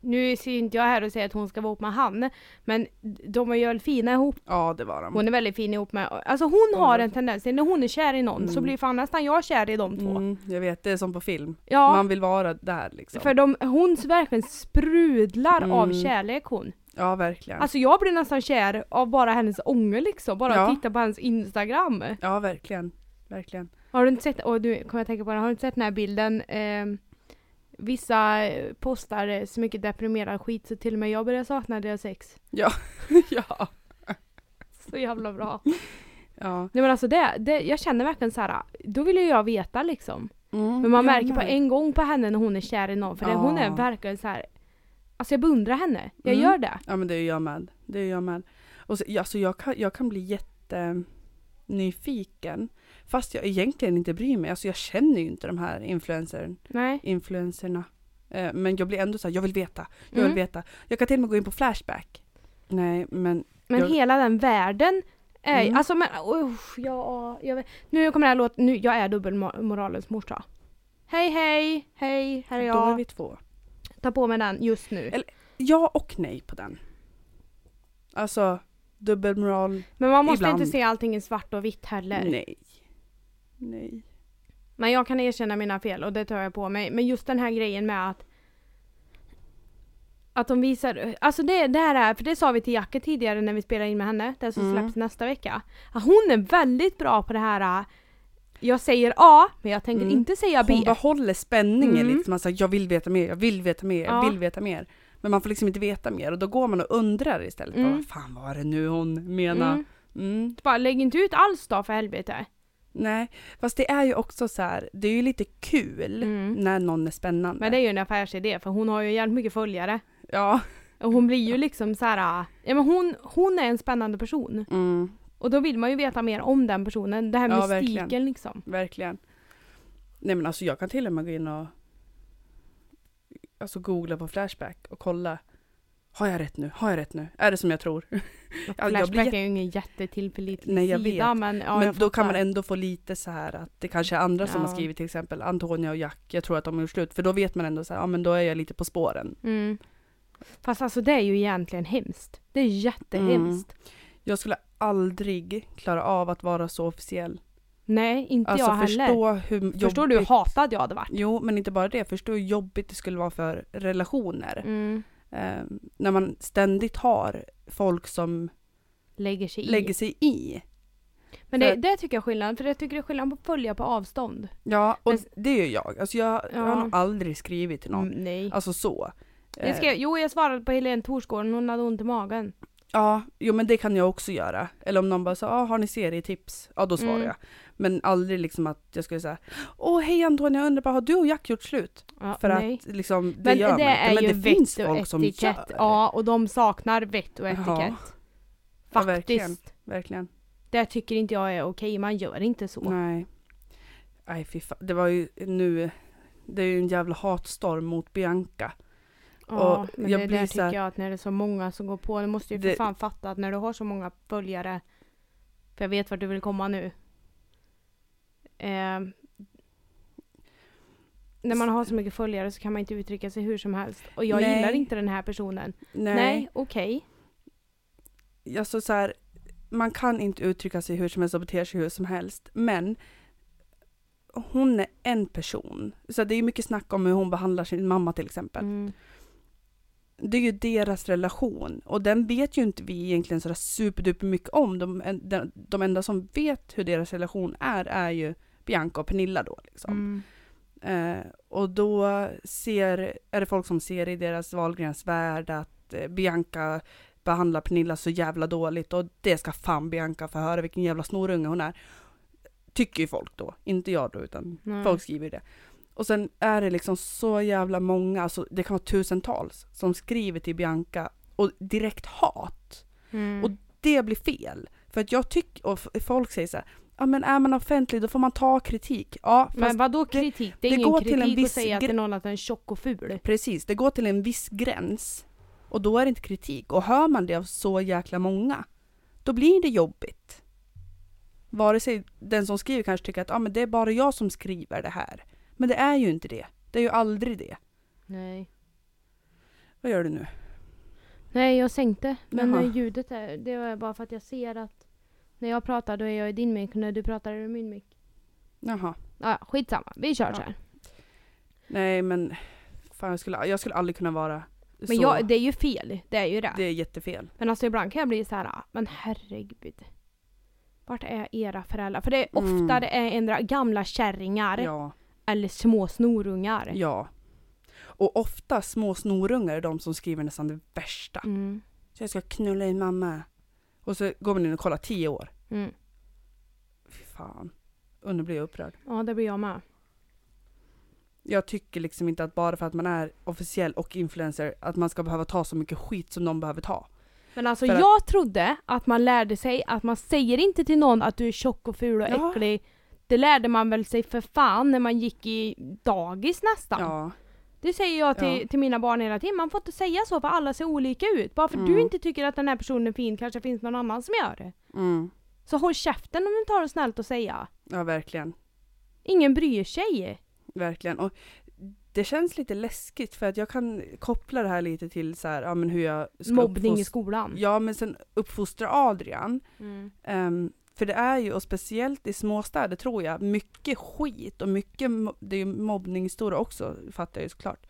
Speaker 1: nu ser inte jag här och säger att hon ska vara ihop med han, men de är ju väldigt fina ihop.
Speaker 2: Ja det var de.
Speaker 1: Hon är väldigt fin ihop med, alltså hon
Speaker 2: Ja.
Speaker 1: har en tendens, när hon är kär i någon så
Speaker 2: Mm.
Speaker 1: blir fan nästan jag kär i de två.
Speaker 2: Mm, jag vet, det är som på film.
Speaker 1: Ja,
Speaker 2: Man vill vara där liksom.
Speaker 1: för de, hon verkligen sprudlar av
Speaker 2: Mm.
Speaker 1: kärlek hon.
Speaker 2: Ja verkligen.
Speaker 1: Alltså jag blir nästan kär av bara hennes ånger liksom, bara
Speaker 2: Ja.
Speaker 1: att titta på hennes instagram.
Speaker 2: ja verkligen. Verkligen.
Speaker 1: <laughs> Har du inte sett, och nu kommer jag tänka på det, har du inte sett den här bilden? ehm, vissa eh, postar eh, så mycket deprimerad skit så till och med jag börjar sakna deras sex.
Speaker 2: ja.
Speaker 1: Så jävla bra.
Speaker 2: Ja.
Speaker 1: Nej men alltså det, det jag känner verkligen så här. då vill ju jag veta liksom. Men man märker på en gång på henne när hon är kär i någon, för det, hon är
Speaker 2: Mm, Ja.
Speaker 1: verkligen så här. Alltså jag beundrar henne, jag
Speaker 2: Mm.
Speaker 1: gör det.
Speaker 2: Ja men det är jag med. Det är jag med. Och så, ja, så jag, kan, jag kan bli jätte nyfiken. Fast jag egentligen inte bryr mig. Alltså jag känner ju inte de här influencern,
Speaker 1: Nej.
Speaker 2: influencerna. Eh, Men jag blir ändå så här, jag vill veta, jag
Speaker 1: Mm.
Speaker 2: vill veta. Jag kan till och med gå in på Flashback. Nej men,
Speaker 1: Men
Speaker 2: Jag-
Speaker 1: hela den världen är
Speaker 2: Mm.
Speaker 1: alltså men usch, ja, jag vet. Nu kommer det här låta, nu, jag är dubbelmoralens morsa. Hej hej, hej, här är
Speaker 2: då är
Speaker 1: jag.
Speaker 2: vi två.
Speaker 1: Ta på mig den just nu.
Speaker 2: Eller- Ja och nej på den. Alltså dubbelmoral,
Speaker 1: Men man måste
Speaker 2: ibland.
Speaker 1: inte se allting i svart och vitt heller.
Speaker 2: nej. Nej.
Speaker 1: Men jag kan erkänna mina fel och det tar jag på mig. Men just den här grejen med att Att de visar, alltså det, det här är, för det sa vi till Jacke tidigare när vi spelade in med henne, den som
Speaker 2: Mm.
Speaker 1: släpps nästa vecka. Att hon är väldigt bra på det här, äh, jag säger A men jag tänker
Speaker 2: Mm.
Speaker 1: inte säga B.
Speaker 2: Hon behåller spänningen
Speaker 1: Mm.
Speaker 2: lite, så man säger jag vill veta mer, jag vill veta mer, jag
Speaker 1: Ja.
Speaker 2: vill veta mer. Men man får liksom inte veta mer och då går man och undrar istället.
Speaker 1: Mm.
Speaker 2: Bara, Vad fan var det nu hon menade?
Speaker 1: mm.
Speaker 2: Mm.
Speaker 1: Bara, lägg inte ut alls då för helvete.
Speaker 2: Nej, fast det är ju också så här, det är ju lite kul
Speaker 1: Mm.
Speaker 2: när någon är spännande.
Speaker 1: Men det är ju en affärsidé för hon har ju jävligt mycket följare.
Speaker 2: Ja.
Speaker 1: Och hon blir ju liksom så här, äh, ja men hon, hon är en spännande person.
Speaker 2: Mm,
Speaker 1: Och då vill man ju veta mer om den personen, det här
Speaker 2: Ja,
Speaker 1: mystiken
Speaker 2: verkligen.
Speaker 1: liksom.
Speaker 2: verkligen. Nej men alltså jag kan till och med gå in och alltså googla på Flashback och kolla. Har jag rätt nu? Har jag rätt nu? Är det som jag tror? jag blir
Speaker 1: Flashback
Speaker 2: jätte-
Speaker 1: är ju ingen jättetillförlitlig
Speaker 2: Nej, jag
Speaker 1: sida
Speaker 2: vet.
Speaker 1: men ja,
Speaker 2: men
Speaker 1: jag
Speaker 2: då kan
Speaker 1: fattar.
Speaker 2: man ändå få lite så här att det kanske är andra som
Speaker 1: Ja.
Speaker 2: har skrivit till exempel Antonia och Jack, jag tror att de har gjort slut. För då vet man ändå så här, ja men då är jag lite på spåren.
Speaker 1: Mm. Fast alltså det är ju egentligen hemskt. Det är jättehemskt.
Speaker 2: Mm. Jag skulle aldrig klara av att vara så officiell.
Speaker 1: Nej, inte
Speaker 2: alltså
Speaker 1: jag heller.
Speaker 2: förstå hur
Speaker 1: Förstår du hur
Speaker 2: jobbigt...
Speaker 1: hatad jag hade varit?
Speaker 2: Jo, men inte bara det. Förstå hur jobbigt det skulle vara för relationer.
Speaker 1: Mm.
Speaker 2: Eh, när man ständigt har folk som
Speaker 1: Lägger sig i.
Speaker 2: lägger sig i.
Speaker 1: Men det,
Speaker 2: för-
Speaker 1: det tycker jag är skillnad, för jag tycker det är skillnad på att följa på avstånd.
Speaker 2: Ja, och
Speaker 1: Men-
Speaker 2: det gör jag. Alltså jag, jag
Speaker 1: Ja.
Speaker 2: har nog aldrig skrivit till någon.
Speaker 1: Mm, nej.
Speaker 2: Alltså så.
Speaker 1: Det ska,
Speaker 2: Eh,
Speaker 1: jag- jo, jag svarade på Helene Torsgården, hon hade ont i magen.
Speaker 2: Ja, jo men det kan jag också göra. Eller om någon bara sa, ah, har ni serietips? Ja då svarar
Speaker 1: Mm.
Speaker 2: jag. Men aldrig liksom att jag skulle säga, åh hej Antonija, jag undrar bara har du och Jack gjort slut?
Speaker 1: Ja,
Speaker 2: För
Speaker 1: nej.
Speaker 2: att liksom, det
Speaker 1: Men
Speaker 2: gör
Speaker 1: det,
Speaker 2: man inte.
Speaker 1: är
Speaker 2: Men
Speaker 1: ju
Speaker 2: det finns
Speaker 1: vett och
Speaker 2: folk som
Speaker 1: etikett.
Speaker 2: gör det.
Speaker 1: Ja, och de saknar vett och
Speaker 2: Ja.
Speaker 1: etikett.
Speaker 2: Ja, verkligen.
Speaker 1: Faktiskt.
Speaker 2: Verkligen.
Speaker 1: det tycker inte jag är okej, man gör inte så.
Speaker 2: Nej. Nej fy fan. Det var ju nu, det är ju en jävla hatstorm mot Bianca.
Speaker 1: Ja,
Speaker 2: Och
Speaker 1: men
Speaker 2: jag
Speaker 1: det
Speaker 2: blir
Speaker 1: där
Speaker 2: så här-
Speaker 1: tycker jag att när det är så många som går på, du måste ju för
Speaker 2: Det-
Speaker 1: fan fatta att när du har så många följare, för jag vet vart du vill komma nu. Eh, när man har så mycket följare så kan man inte uttrycka sig hur som helst. Och jag
Speaker 2: Nej.
Speaker 1: gillar inte den här personen. Nej, okej.
Speaker 2: alltså så här, man kan inte uttrycka sig hur som helst och bete sig hur som helst, men hon är en person. Så det är ju mycket snack om hur hon behandlar sin mamma till exempel.
Speaker 1: Mm.
Speaker 2: Det är ju deras relation och den vet ju inte vi egentligen sådär superduper mycket om. De, en- de, de enda som vet hur deras relation är, är ju Bianca och Pernilla då. Liksom.
Speaker 1: Mm.
Speaker 2: Eh, och då ser, är det folk som ser i deras Wahlgrens värld att eh, Bianca behandlar Pernilla så jävla dåligt och det ska fan Bianca få höra vilken jävla snorunge hon är. Tycker ju folk då, inte jag då utan
Speaker 1: Nej.
Speaker 2: folk skriver ju det. Och sen är det liksom så jävla många, alltså det kan vara tusentals som skriver till Bianca och direkt hat.
Speaker 1: Mm.
Speaker 2: och- Det blir fel. För att jag tycker, och f- folk säger så här, ja men är man offentlig då får man ta kritik. Ja, fast
Speaker 1: men vadå kritik? Det är
Speaker 2: det
Speaker 1: ingen
Speaker 2: går till en
Speaker 1: kritik att
Speaker 2: viss
Speaker 1: säga att
Speaker 2: gre-
Speaker 1: det är någon att den är tjock och ful.
Speaker 2: Precis, det går till en viss gräns och då är det inte kritik. Och hör man det av så jäkla många, då blir det jobbigt. Vare sig den som skriver kanske tycker att ah, men det är bara jag som skriver det här. Men det är ju inte det. Det är ju aldrig det.
Speaker 1: Nej.
Speaker 2: Vad gör du nu?
Speaker 1: Nej, jag sänkte. Men
Speaker 2: Jaha.
Speaker 1: eh, ljudet är, det är bara för att jag ser att när jag pratar då är jag i din mick och när du pratar är du i min mick.
Speaker 2: Jaha.
Speaker 1: Ah, skitsamma, vi kör
Speaker 2: Ja,
Speaker 1: så här.
Speaker 2: Nej men, fan, jag, skulle, jag skulle aldrig kunna vara
Speaker 1: Men
Speaker 2: så.
Speaker 1: jag, det är ju fel, det är ju det.
Speaker 2: det är jättefel.
Speaker 1: Men alltså ibland kan jag bli så här, ah, men herregud. Vart är era föräldrar? För det är ofta
Speaker 2: Mm.
Speaker 1: det är ändra gamla kärringar
Speaker 2: Ja.
Speaker 1: eller små snorungar.
Speaker 2: ja. Och ofta små snorungar är de som skriver nästan det värsta.
Speaker 1: Mm.
Speaker 2: Så jag ska knulla in mamma. Och så går man in och kollar tio år.
Speaker 1: Mm.
Speaker 2: Fy fan. Och nu blir jag upprörd.
Speaker 1: Ja, det blir jag med.
Speaker 2: Jag tycker liksom inte att bara för att man är officiell och influencer att man ska behöva ta så mycket skit som de behöver ta.
Speaker 1: Men alltså
Speaker 2: För att-
Speaker 1: jag trodde att man lärde sig att man säger inte till någon att du är tjock och ful och
Speaker 2: Ja.
Speaker 1: äcklig. Det lärde man väl sig för fan när man gick i dagis nästan.
Speaker 2: Ja.
Speaker 1: Det säger jag till,
Speaker 2: Ja.
Speaker 1: till mina barn hela tiden, man får inte säga så för alla ser olika ut. Bara för
Speaker 2: Mm.
Speaker 1: du inte tycker att den här personen är fin kanske finns någon annan som gör det.
Speaker 2: Mm.
Speaker 1: Så håll käften om du inte har något snällt att säga.
Speaker 2: Ja, verkligen.
Speaker 1: Ingen bryr sig.
Speaker 2: Verkligen. Och det känns lite läskigt för att jag kan koppla det här lite till så här, ja men hur jag ska
Speaker 1: Mobbning i
Speaker 2: uppfostra-
Speaker 1: skolan.
Speaker 2: Ja, men sen uppfostra Adrian.
Speaker 1: Mm.
Speaker 2: Ehm, för det är ju, och speciellt i småstäder tror jag, mycket skit och mycket, mo- det är ju mobbningshistoria också, fattar jag ju såklart.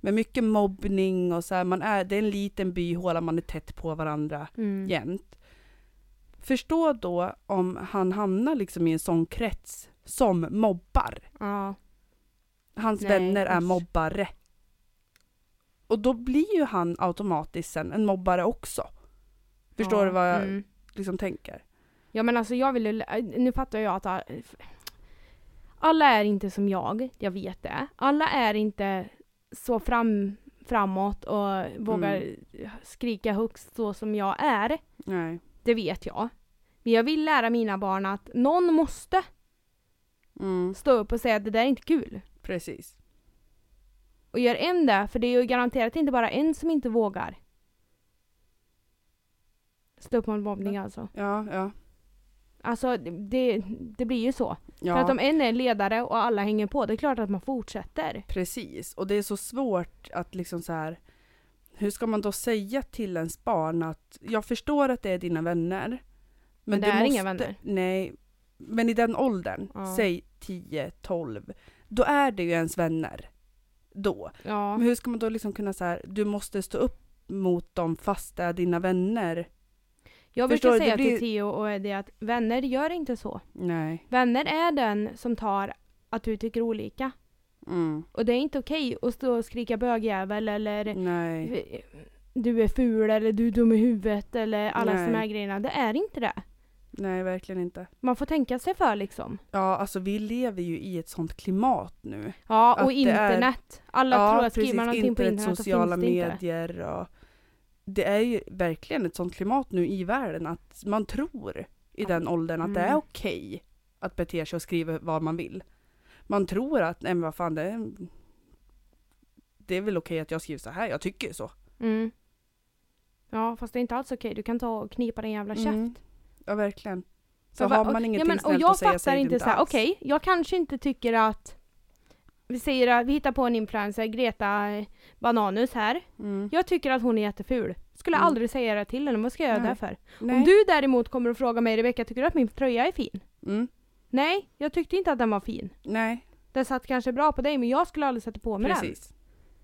Speaker 2: Men mycket mobbning och så här, man är, det är en liten byhåla, man är tätt på varandra
Speaker 1: Mm.
Speaker 2: jämt. Förstå då om han hamnar liksom i en sån krets som mobbar.
Speaker 1: Ja.
Speaker 2: Hans
Speaker 1: Nej,
Speaker 2: vänner är
Speaker 1: usch.
Speaker 2: mobbare. Och då blir ju han automatiskt sen en mobbare också. Förstår
Speaker 1: ja.
Speaker 2: du vad jag
Speaker 1: Mm.
Speaker 2: liksom tänker?
Speaker 1: Ja men alltså jag vill ju- nu fattar jag att all- alla är inte som jag, jag vet det. Alla är inte så fram, framåt och vågar skrika högst så som jag är.
Speaker 2: Nej.
Speaker 1: Det vet jag. Men jag vill lära mina barn att någon måste
Speaker 2: Mm,
Speaker 1: stå upp och säga att det där är inte kul.
Speaker 2: precis.
Speaker 1: Och gör en det, för det är ju garanterat inte bara en som inte vågar. Stå upp mot mobbning alltså.
Speaker 2: Ja, ja.
Speaker 1: Alltså det, det blir ju så.
Speaker 2: ja.
Speaker 1: För att om en är ledare och alla hänger på, det är klart att man fortsätter.
Speaker 2: Precis, och det är så svårt att liksom så här. Hur ska man då säga till ens barn att jag förstår att det är dina vänner.
Speaker 1: Men
Speaker 2: Men,
Speaker 1: det
Speaker 2: du
Speaker 1: är
Speaker 2: måste,
Speaker 1: inga vänner.
Speaker 2: Nej, men i den åldern,
Speaker 1: Ja.
Speaker 2: säg 10, 12, då är det ju ens vänner. Då.
Speaker 1: Ja,
Speaker 2: Men hur ska man då liksom kunna så här, du måste stå upp mot dem fast det är dina vänner.
Speaker 1: jag
Speaker 2: förstår
Speaker 1: brukar
Speaker 2: du,
Speaker 1: säga
Speaker 2: det blir-
Speaker 1: till Theo och Eddie att vänner gör inte så.
Speaker 2: Nej.
Speaker 1: Vänner är den som tar att du tycker olika.
Speaker 2: Mm.
Speaker 1: Och det är inte okej att stå och skrika bögjävel eller
Speaker 2: Nej.
Speaker 1: du är ful eller du är dum i huvudet eller alla
Speaker 2: Nej.
Speaker 1: såna här grejerna. Det är inte det.
Speaker 2: Nej, verkligen inte.
Speaker 1: Man får tänka sig för liksom.
Speaker 2: Ja, alltså vi lever ju i ett sånt klimat nu.
Speaker 1: Ja,
Speaker 2: Att
Speaker 1: och
Speaker 2: det
Speaker 1: internet. Alla tror att skriver man någonting på
Speaker 2: internet,
Speaker 1: internet så finns
Speaker 2: sociala
Speaker 1: det inte.
Speaker 2: medier och det är ju verkligen ett sånt klimat nu i världen att man tror i den åldern att det är
Speaker 1: Mm.
Speaker 2: okej att bete sig och skriva vad man vill. Man tror att, nej men vad fan det är, det är väl okej att jag skriver så här, jag tycker ju så.
Speaker 1: Mm. Ja, fast det är inte alls okej. Du kan ta och knipa din jävla käft.
Speaker 2: Mm. Ja verkligen. Så
Speaker 1: Jag bara,
Speaker 2: har man
Speaker 1: och-
Speaker 2: ingenting
Speaker 1: ja, men,
Speaker 2: snällt
Speaker 1: Och jag
Speaker 2: att säga
Speaker 1: fattar
Speaker 2: säger
Speaker 1: inte så här,
Speaker 2: alls.
Speaker 1: okej, jag kanske inte tycker att vi säger att vi hittar på en influencer, Greta eh, Bananus här.
Speaker 2: Mm.
Speaker 1: Jag tycker att hon är jätteful. Skulle
Speaker 2: Mm.
Speaker 1: aldrig säga det till henne, vad ska jag göra
Speaker 2: Nej.
Speaker 1: det för? Om
Speaker 2: Nej.
Speaker 1: du däremot kommer och frågar mig Rebecka, tycker du att min tröja är fin?
Speaker 2: Mm.
Speaker 1: Nej, jag tyckte inte att den var fin.
Speaker 2: Nej,
Speaker 1: Den satt kanske bra på dig men jag skulle aldrig sätta på mig den.
Speaker 2: precis. Mm.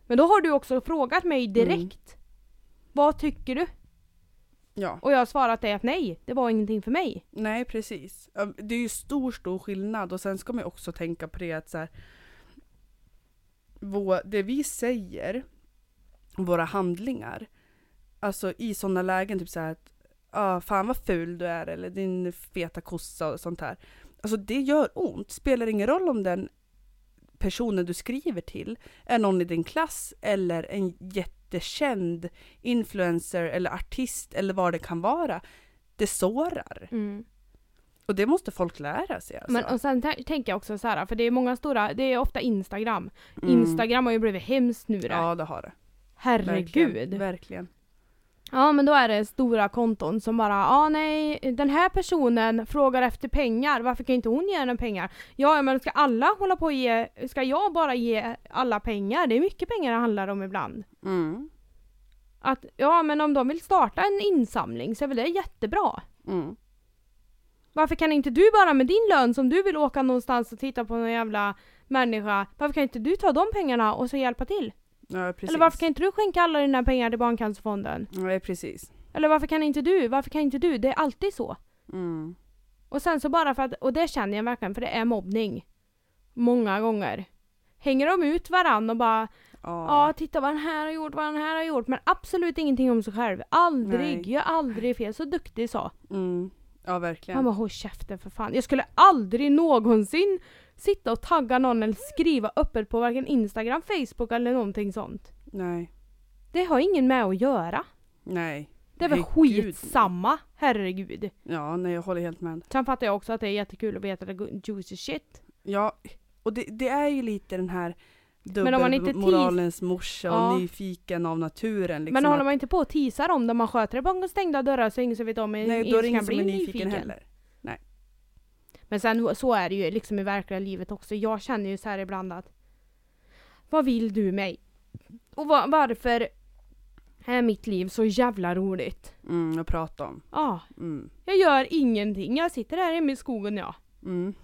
Speaker 1: Men då har du också frågat mig direkt. Vad tycker du?
Speaker 2: Ja.
Speaker 1: Och jag har svarat dig att nej, det var ingenting för mig.
Speaker 2: Nej, precis. Ja, Det är ju stor, stor skillnad och sen ska man ju också tänka på det att så här, vår, det vi säger, våra handlingar, alltså i sådana lägen, typ så här att ah, fan vad ful du är eller din feta kossa och sånt här. Alltså det gör ont, spelar ingen roll om den personen du skriver till är någon i din klass eller en jättekänd influencer eller artist eller vad det kan vara. Det sårar. Och det måste folk lära sig alltså.
Speaker 1: Men och sen tä- tänker jag också så här, för det är många stora, det är ofta Instagram.
Speaker 2: Mm.
Speaker 1: Instagram har ju blivit hemskt nu det.
Speaker 2: Ja det har det.
Speaker 1: Herregud.
Speaker 2: Verkligen. Verkligen.
Speaker 1: Ja men då är det stora konton som bara, ja ah, nej den här personen frågar efter pengar, varför kan inte hon ge henne pengar? Ja men ska alla hålla på och ge, ska jag bara ge alla pengar? Det är mycket pengar det handlar om ibland.
Speaker 2: Mm.
Speaker 1: Att ja men om de vill starta en insamling så är väl det jättebra.
Speaker 2: Mm.
Speaker 1: Varför kan inte du bara med din lön som du vill åka någonstans och titta på någon jävla människa, varför kan inte du ta de pengarna och så hjälpa till?
Speaker 2: Ja precis.
Speaker 1: Eller varför kan inte du skänka alla dina pengar till Barncancerfonden?
Speaker 2: Nej precis.
Speaker 1: Eller varför kan inte du? Varför kan inte du? Det är alltid så.
Speaker 2: Mm.
Speaker 1: Och sen så bara för att, och det känner jag verkligen för det är mobbning. Många gånger. Hänger de ut varann och bara ja
Speaker 2: Ja.
Speaker 1: titta vad den här har gjort, vad den här har gjort. Men absolut ingenting om sig själv. Aldrig,
Speaker 2: Nej.
Speaker 1: gör aldrig fel. Så duktig så.
Speaker 2: Mm. Ja
Speaker 1: Man
Speaker 2: verkligen.
Speaker 1: bara håll käften för fan. Jag skulle aldrig någonsin sitta och tagga någon eller skriva öppet på varken Instagram, Facebook eller någonting sånt.
Speaker 2: Nej.
Speaker 1: Det har ingen med att göra.
Speaker 2: Nej.
Speaker 1: Det är väl
Speaker 2: Herregud.
Speaker 1: skitsamma, herregud.
Speaker 2: Ja nej jag håller helt med.
Speaker 1: Sen fattar jag också att det är jättekul att veta det go- juicy shit.
Speaker 2: Ja och det, det är ju lite den här
Speaker 1: Men om man inte tis-
Speaker 2: dubbelmoralens morsa och
Speaker 1: Ja.
Speaker 2: nyfiken av naturen. Liksom
Speaker 1: Men håller
Speaker 2: att,
Speaker 1: man inte på och teasar om det, man sköter det bakom stängda dörrar så ingen som vet om det,
Speaker 2: nej då är det ingen
Speaker 1: ska
Speaker 2: som
Speaker 1: bli
Speaker 2: är nyfiken, heller.
Speaker 1: Men sen så är det ju liksom i verkliga livet också. Jag känner ju så här ibland att vad vill du mig? Och va- varför är mitt liv så jävla roligt?
Speaker 2: Mm, att prata om.
Speaker 1: Ja, ah,
Speaker 2: Mm.
Speaker 1: jag gör ingenting. Jag sitter här hemma i skogen ja.
Speaker 2: Mm.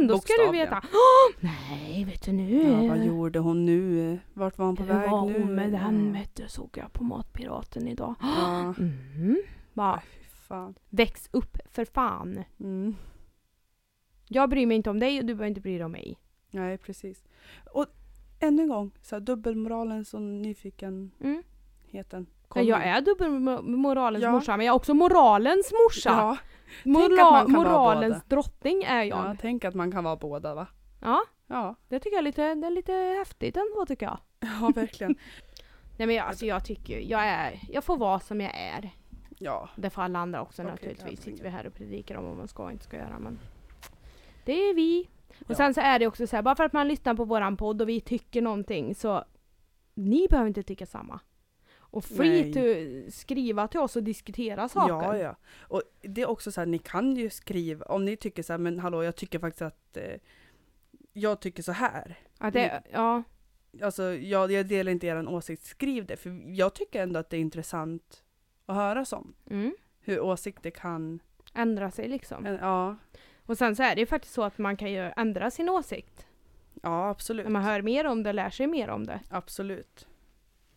Speaker 1: Ändå ska du
Speaker 2: Bokstavligen.
Speaker 1: veta. <gasps> "Åh, nej, vet du nu.
Speaker 2: Ja, vad gjorde hon nu? Vart var hon på
Speaker 1: Hur
Speaker 2: väg
Speaker 1: var
Speaker 2: nu? Mm.
Speaker 1: hon med den
Speaker 2: Ja.
Speaker 1: vet du, såg jag på Matpiraten idag.
Speaker 2: Ja.
Speaker 1: Mm. Bara,
Speaker 2: Nej, fy fan.
Speaker 1: väx upp för fan.
Speaker 2: Mm.
Speaker 1: Jag bryr mig inte om dig och du behöver inte bry dig om mig.
Speaker 2: Nej, precis. Och ännu en gång, så här, dubbelmoralen och nyfikenheten.
Speaker 1: Mm.
Speaker 2: kommer.
Speaker 1: Jag är dubbelmoralens
Speaker 2: Ja.
Speaker 1: morsa men jag är också moralens morsa.
Speaker 2: Ja,
Speaker 1: Mora-
Speaker 2: tänk att man kan vara
Speaker 1: moralens
Speaker 2: båda.
Speaker 1: drottning är jag.
Speaker 2: ja, tänk att man kan vara båda va?
Speaker 1: Ja,
Speaker 2: Ja,
Speaker 1: det tycker jag är lite, det är lite häftigt ändå tycker jag.
Speaker 2: ja verkligen. <laughs>
Speaker 1: Nej men jag, alltså jag tycker ju- jag är, jag får vara som jag är.
Speaker 2: Ja,
Speaker 1: Det får alla andra också
Speaker 2: Okej, ja,
Speaker 1: naturligtvis.
Speaker 2: men-
Speaker 1: Sitter vi här och predikar om vad man ska och inte ska göra men det är vi. Och
Speaker 2: Ja.
Speaker 1: sen så är det också så här, bara för att man lyssnar på våran podd och vi tycker någonting så ni behöver inte tycka samma. Och free
Speaker 2: Nej.
Speaker 1: to skriva till oss och diskutera saker.
Speaker 2: ja, ja. Och det är också så här, ni kan ju skriva, om ni tycker så här, men hallå jag tycker faktiskt att eh, jag tycker så här.
Speaker 1: Att det, ja.
Speaker 2: Alltså jag, jag delar inte er åsikt, skriv det. För jag tycker ändå att det är intressant att höra sånt.
Speaker 1: Mm.
Speaker 2: Hur åsikter kan,
Speaker 1: Ändra sig liksom.
Speaker 2: en- ja,
Speaker 1: Och sen så är det ju faktiskt så att man kan ju ändra sin åsikt.
Speaker 2: ja absolut.
Speaker 1: När man hör mer om det och lär sig mer om det.
Speaker 2: Absolut.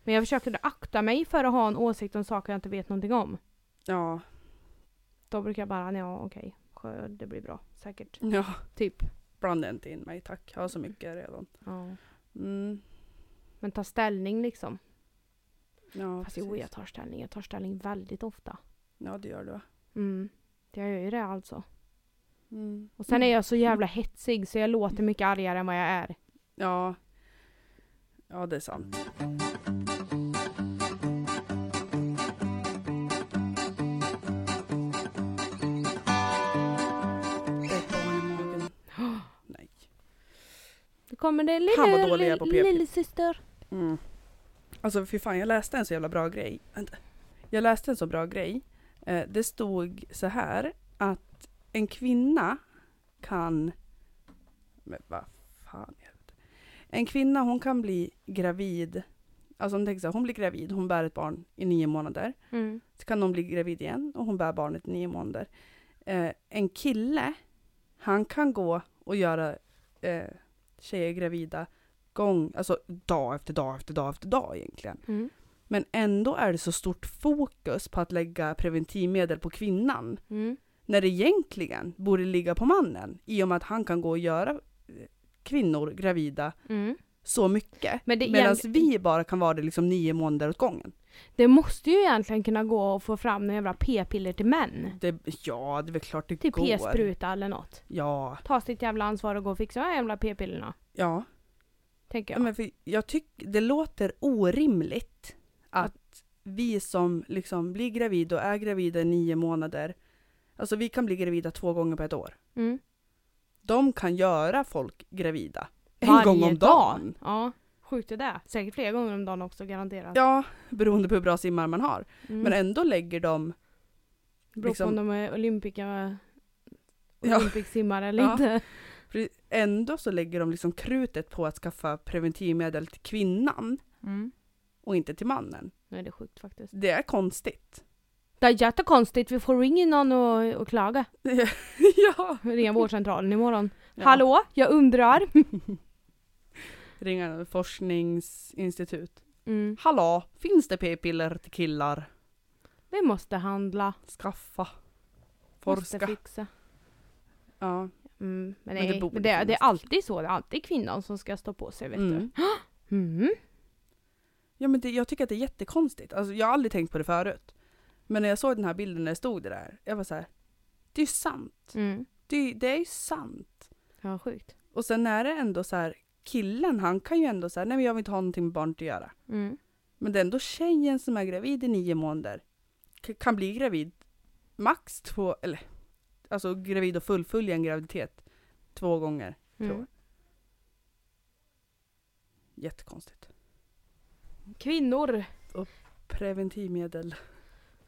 Speaker 1: Men jag försöker akta mig för att ha en åsikt om saker jag inte vet någonting om.
Speaker 2: Ja.
Speaker 1: Då brukar jag bara, ja okej, sjö, det blir bra. Säkert.
Speaker 2: ja.
Speaker 1: Typ.
Speaker 2: Blanda inte in mig tack, jag har så mycket redan.
Speaker 1: Ja.
Speaker 2: Mm.
Speaker 1: Men ta ställning liksom.
Speaker 2: Ja,
Speaker 1: Fast jo,
Speaker 2: precis.
Speaker 1: jag tar ställning. Jag tar ställning väldigt ofta.
Speaker 2: ja, det gör du. va?
Speaker 1: Mm. Jag gör ju det alltså.
Speaker 2: Mm.
Speaker 1: Och sen är jag så jävla hetsig så jag låter mycket argare än vad jag är.
Speaker 2: Ja. Ja, det är sant. Det är ett barn i magen.
Speaker 1: <gasps>
Speaker 2: Nej.
Speaker 1: Då kommer det
Speaker 2: Fan, vad
Speaker 1: lilla,
Speaker 2: dålig jag är på PP.
Speaker 1: lillasyster.
Speaker 2: Mm. Alltså fy fan, jag läste en så jävla bra grej. Vänta. Jag läste en så bra grej. Eh, det stod så här att en kvinna kan... Men vad fan i helvete. En kvinna hon kan bli gravid. Alltså om du tänker så här, hon blir gravid, hon bär ett barn i nio månader.
Speaker 1: Mm.
Speaker 2: Så kan hon bli gravid igen och hon bär barnet i nio månader. Eh, en kille, han kan gå och göra eh, tjejer gravida gång, alltså dag efter dag efter dag efter dag egentligen.
Speaker 1: Mm.
Speaker 2: Men ändå är det så stort fokus på att lägga preventivmedel på kvinnan.
Speaker 1: Mm.
Speaker 2: När det egentligen borde ligga på mannen. I och med att han kan gå och göra eh, kvinnor gravida
Speaker 1: Mm.
Speaker 2: så mycket.
Speaker 1: Men det är
Speaker 2: Medan
Speaker 1: egent-
Speaker 2: vi bara kan vara det liksom nio månader åt gången.
Speaker 1: Det måste ju egentligen kunna gå att få fram några jävla p-piller till män.
Speaker 2: Det, ja, det är väl klart det
Speaker 1: Typ
Speaker 2: går.
Speaker 1: p-spruta eller något.
Speaker 2: Ja,
Speaker 1: Ta sitt jävla ansvar och gå och fixa de här jävla p-pillerna.
Speaker 2: ja.
Speaker 1: Tänker
Speaker 2: ja.
Speaker 1: jag.
Speaker 2: Men för jag tycker det låter orimligt att vi som liksom blir gravida och är gravida i nio månader, alltså vi kan bli gravida två gånger på ett år.
Speaker 1: Mm.
Speaker 2: De kan göra folk gravida. En
Speaker 1: Varje
Speaker 2: gång om dagen.
Speaker 1: Ja, sjukt det där. Säkert flera gånger om dagen också garanterat.
Speaker 2: Ja, beroende på hur bra simmar man har.
Speaker 1: Mm.
Speaker 2: Men ändå lägger de...
Speaker 1: Beror på om
Speaker 2: Liksom,
Speaker 1: de är olympiska
Speaker 2: Ja.
Speaker 1: olympicsimmare eller
Speaker 2: Ja.
Speaker 1: inte.
Speaker 2: för ändå så lägger de liksom krutet på att skaffa preventivmedel till kvinnan och inte till mannen.
Speaker 1: Nej det är sjukt faktiskt.
Speaker 2: Det
Speaker 1: <laughs>
Speaker 2: är konstigt.
Speaker 1: Det är jättekonstigt, vi får ringa någon och, och klaga.
Speaker 2: ja! <laughs>
Speaker 1: Ringa vårdcentralen imorgon.
Speaker 2: Ja.
Speaker 1: Hallå, jag undrar.
Speaker 2: Ringa något forskningsinstitut.
Speaker 1: Mm.
Speaker 2: Hallå, finns det p-piller till killar?
Speaker 1: Vi måste handla,
Speaker 2: Skaffa.
Speaker 1: måste
Speaker 2: Forska.
Speaker 1: fixa.
Speaker 2: Ja.
Speaker 1: Mm. Men,
Speaker 2: Men det
Speaker 1: nej,
Speaker 2: borde
Speaker 1: men det, det är
Speaker 2: finnas.
Speaker 1: alltid så, det är alltid kvinnan som ska stå på sig vet
Speaker 2: Mm.
Speaker 1: du. Mm.
Speaker 2: Ja men det, jag tycker att det är jättekonstigt. Alltså, jag har aldrig tänkt på det förut. Men när jag såg den här bilden när det stod det där, jag var så här. Det är ju sant.
Speaker 1: Mm.
Speaker 2: Det, det är ju sant.
Speaker 1: Ja sjukt.
Speaker 2: Och sen är det ändå så här, killen han kan ju ändå säga nej men jag vill inte ha någonting med barnet att göra.
Speaker 1: Mm.
Speaker 2: Men det är ändå tjejen som är gravid i nio månader. K- kan bli gravid max två, eller alltså gravid och fullfölja en graviditet två gånger. Tror
Speaker 1: Mm.
Speaker 2: jag. Jättekonstigt.
Speaker 1: Kvinnor!
Speaker 2: Preventivmedel.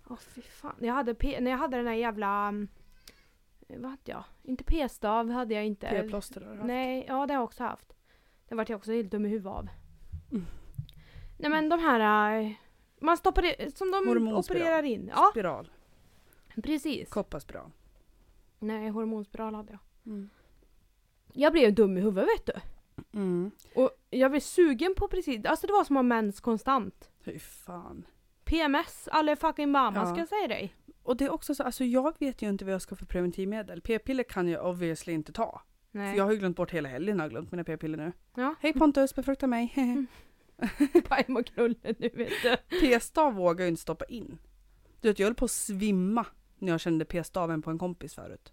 Speaker 1: Åh fy fan. Jag hade P- när jag hade den här jävla... mm, Vad hade jag? Inte p-stav hade jag inte.
Speaker 2: P-plåster har du haft.
Speaker 1: Nej, ja det har jag också haft. Den vart jag också helt dum i huvudet av.
Speaker 2: Mm.
Speaker 1: Nej men de här... eh, Man stoppar i- som de
Speaker 2: Hormonspiral.
Speaker 1: opererar in. Ja,
Speaker 2: Spiral.
Speaker 1: precis.
Speaker 2: Kopparspiral.
Speaker 1: Mm. Nej, hormonspiral hade jag. Jag blev dum i huvudet vet du.
Speaker 2: Mm.
Speaker 1: Och jag blev sugen på precis, alltså det var som att ha mens konstant.
Speaker 2: Fy fan.
Speaker 1: PMS, alla fucking mamma
Speaker 2: Ja.
Speaker 1: ska jag säga dig.
Speaker 2: Och det är också så, alltså jag vet ju inte vad jag ska för preventivmedel. P-piller kan jag obviously inte ta. För
Speaker 1: Nej.
Speaker 2: jag har ju glömt bort hela helgen, har jag glömt mina p-piller nu.
Speaker 1: Ja, <laughs>
Speaker 2: Hej Pontus, befrukta mig. <laughs>
Speaker 1: Mm. pajem och knulle nu vet du.
Speaker 2: P-stav vågar jag ju inte stoppa in. Du vet, jag höll på att svimma när jag kände p-staven på en kompis förut.